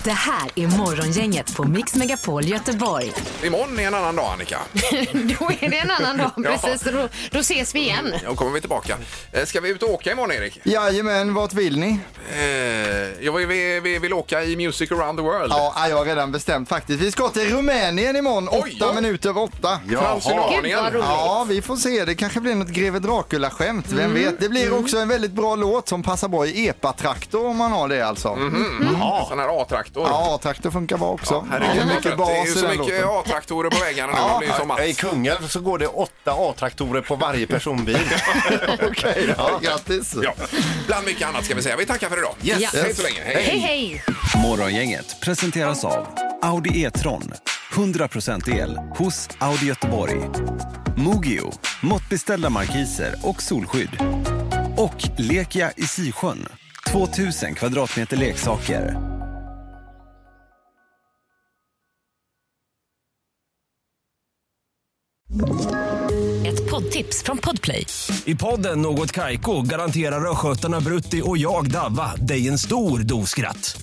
[SPEAKER 3] Det här är Morgongänget på Mix Megapol Göteborg.
[SPEAKER 4] Imorgon är en annan dag,
[SPEAKER 6] [LAUGHS]
[SPEAKER 4] Annika.
[SPEAKER 6] [LAUGHS] Då är det en annan dag,
[SPEAKER 4] Ja.
[SPEAKER 6] precis. Då, då ses vi igen.
[SPEAKER 4] Då kommer vi tillbaka. Eh, Ska vi ut och åka imorgon, Erik?
[SPEAKER 7] Jajamän, vart vill ni?
[SPEAKER 4] Eh, ja, vi, vi, vi vill åka i Music around the world.
[SPEAKER 7] Ja, jag har redan bestämt faktiskt. Vi ska till Rumänien imorgon,
[SPEAKER 4] Oj,
[SPEAKER 7] åtta
[SPEAKER 4] ja.
[SPEAKER 7] minuter över åtta.
[SPEAKER 4] Transylvanien.
[SPEAKER 6] Gud, vad roligt.
[SPEAKER 7] Ja, vi får se. Det kanske blir något Greve Dracula-skämt.
[SPEAKER 10] Mm.
[SPEAKER 7] Vem vet? Det blir också en väldigt bra låt som passar bra i epatraktor om man har det alltså.
[SPEAKER 10] Mhm.
[SPEAKER 4] Mm, Sån här A-traktor.
[SPEAKER 7] Ja, A-traktor funkar bra också. det är mycket
[SPEAKER 4] det är
[SPEAKER 7] bas
[SPEAKER 4] ju
[SPEAKER 7] i
[SPEAKER 4] så
[SPEAKER 7] den
[SPEAKER 4] mycket
[SPEAKER 7] låten.
[SPEAKER 4] A-traktorer på vägarna nu. Det blir ju som
[SPEAKER 5] Ja, I
[SPEAKER 4] Mats.
[SPEAKER 5] Kungälv så går det åtta A-traktorer på
[SPEAKER 4] [LAUGHS]
[SPEAKER 5] varje personbil. [LAUGHS]
[SPEAKER 7] Okej, ja, grattis.
[SPEAKER 4] Ja. Bland mycket annat ska vi säga. Vi tackar för idag.
[SPEAKER 6] Ja.
[SPEAKER 4] Hej så länge. Hej.
[SPEAKER 6] Hej, hej!
[SPEAKER 10] Morgongänget presenteras av Audi E-tron. 100% el hos Audi Göteborg. Mogio, måttbeställda markiser och solskydd. Och Lekia i Sisjön, 2000 kvadratmeter leksaker.
[SPEAKER 3] Ett poddtips från Podplay.
[SPEAKER 12] I podden Något Kaiko garanterar östgötarna Brutti och jag, Davva, dig en stor dos skratt.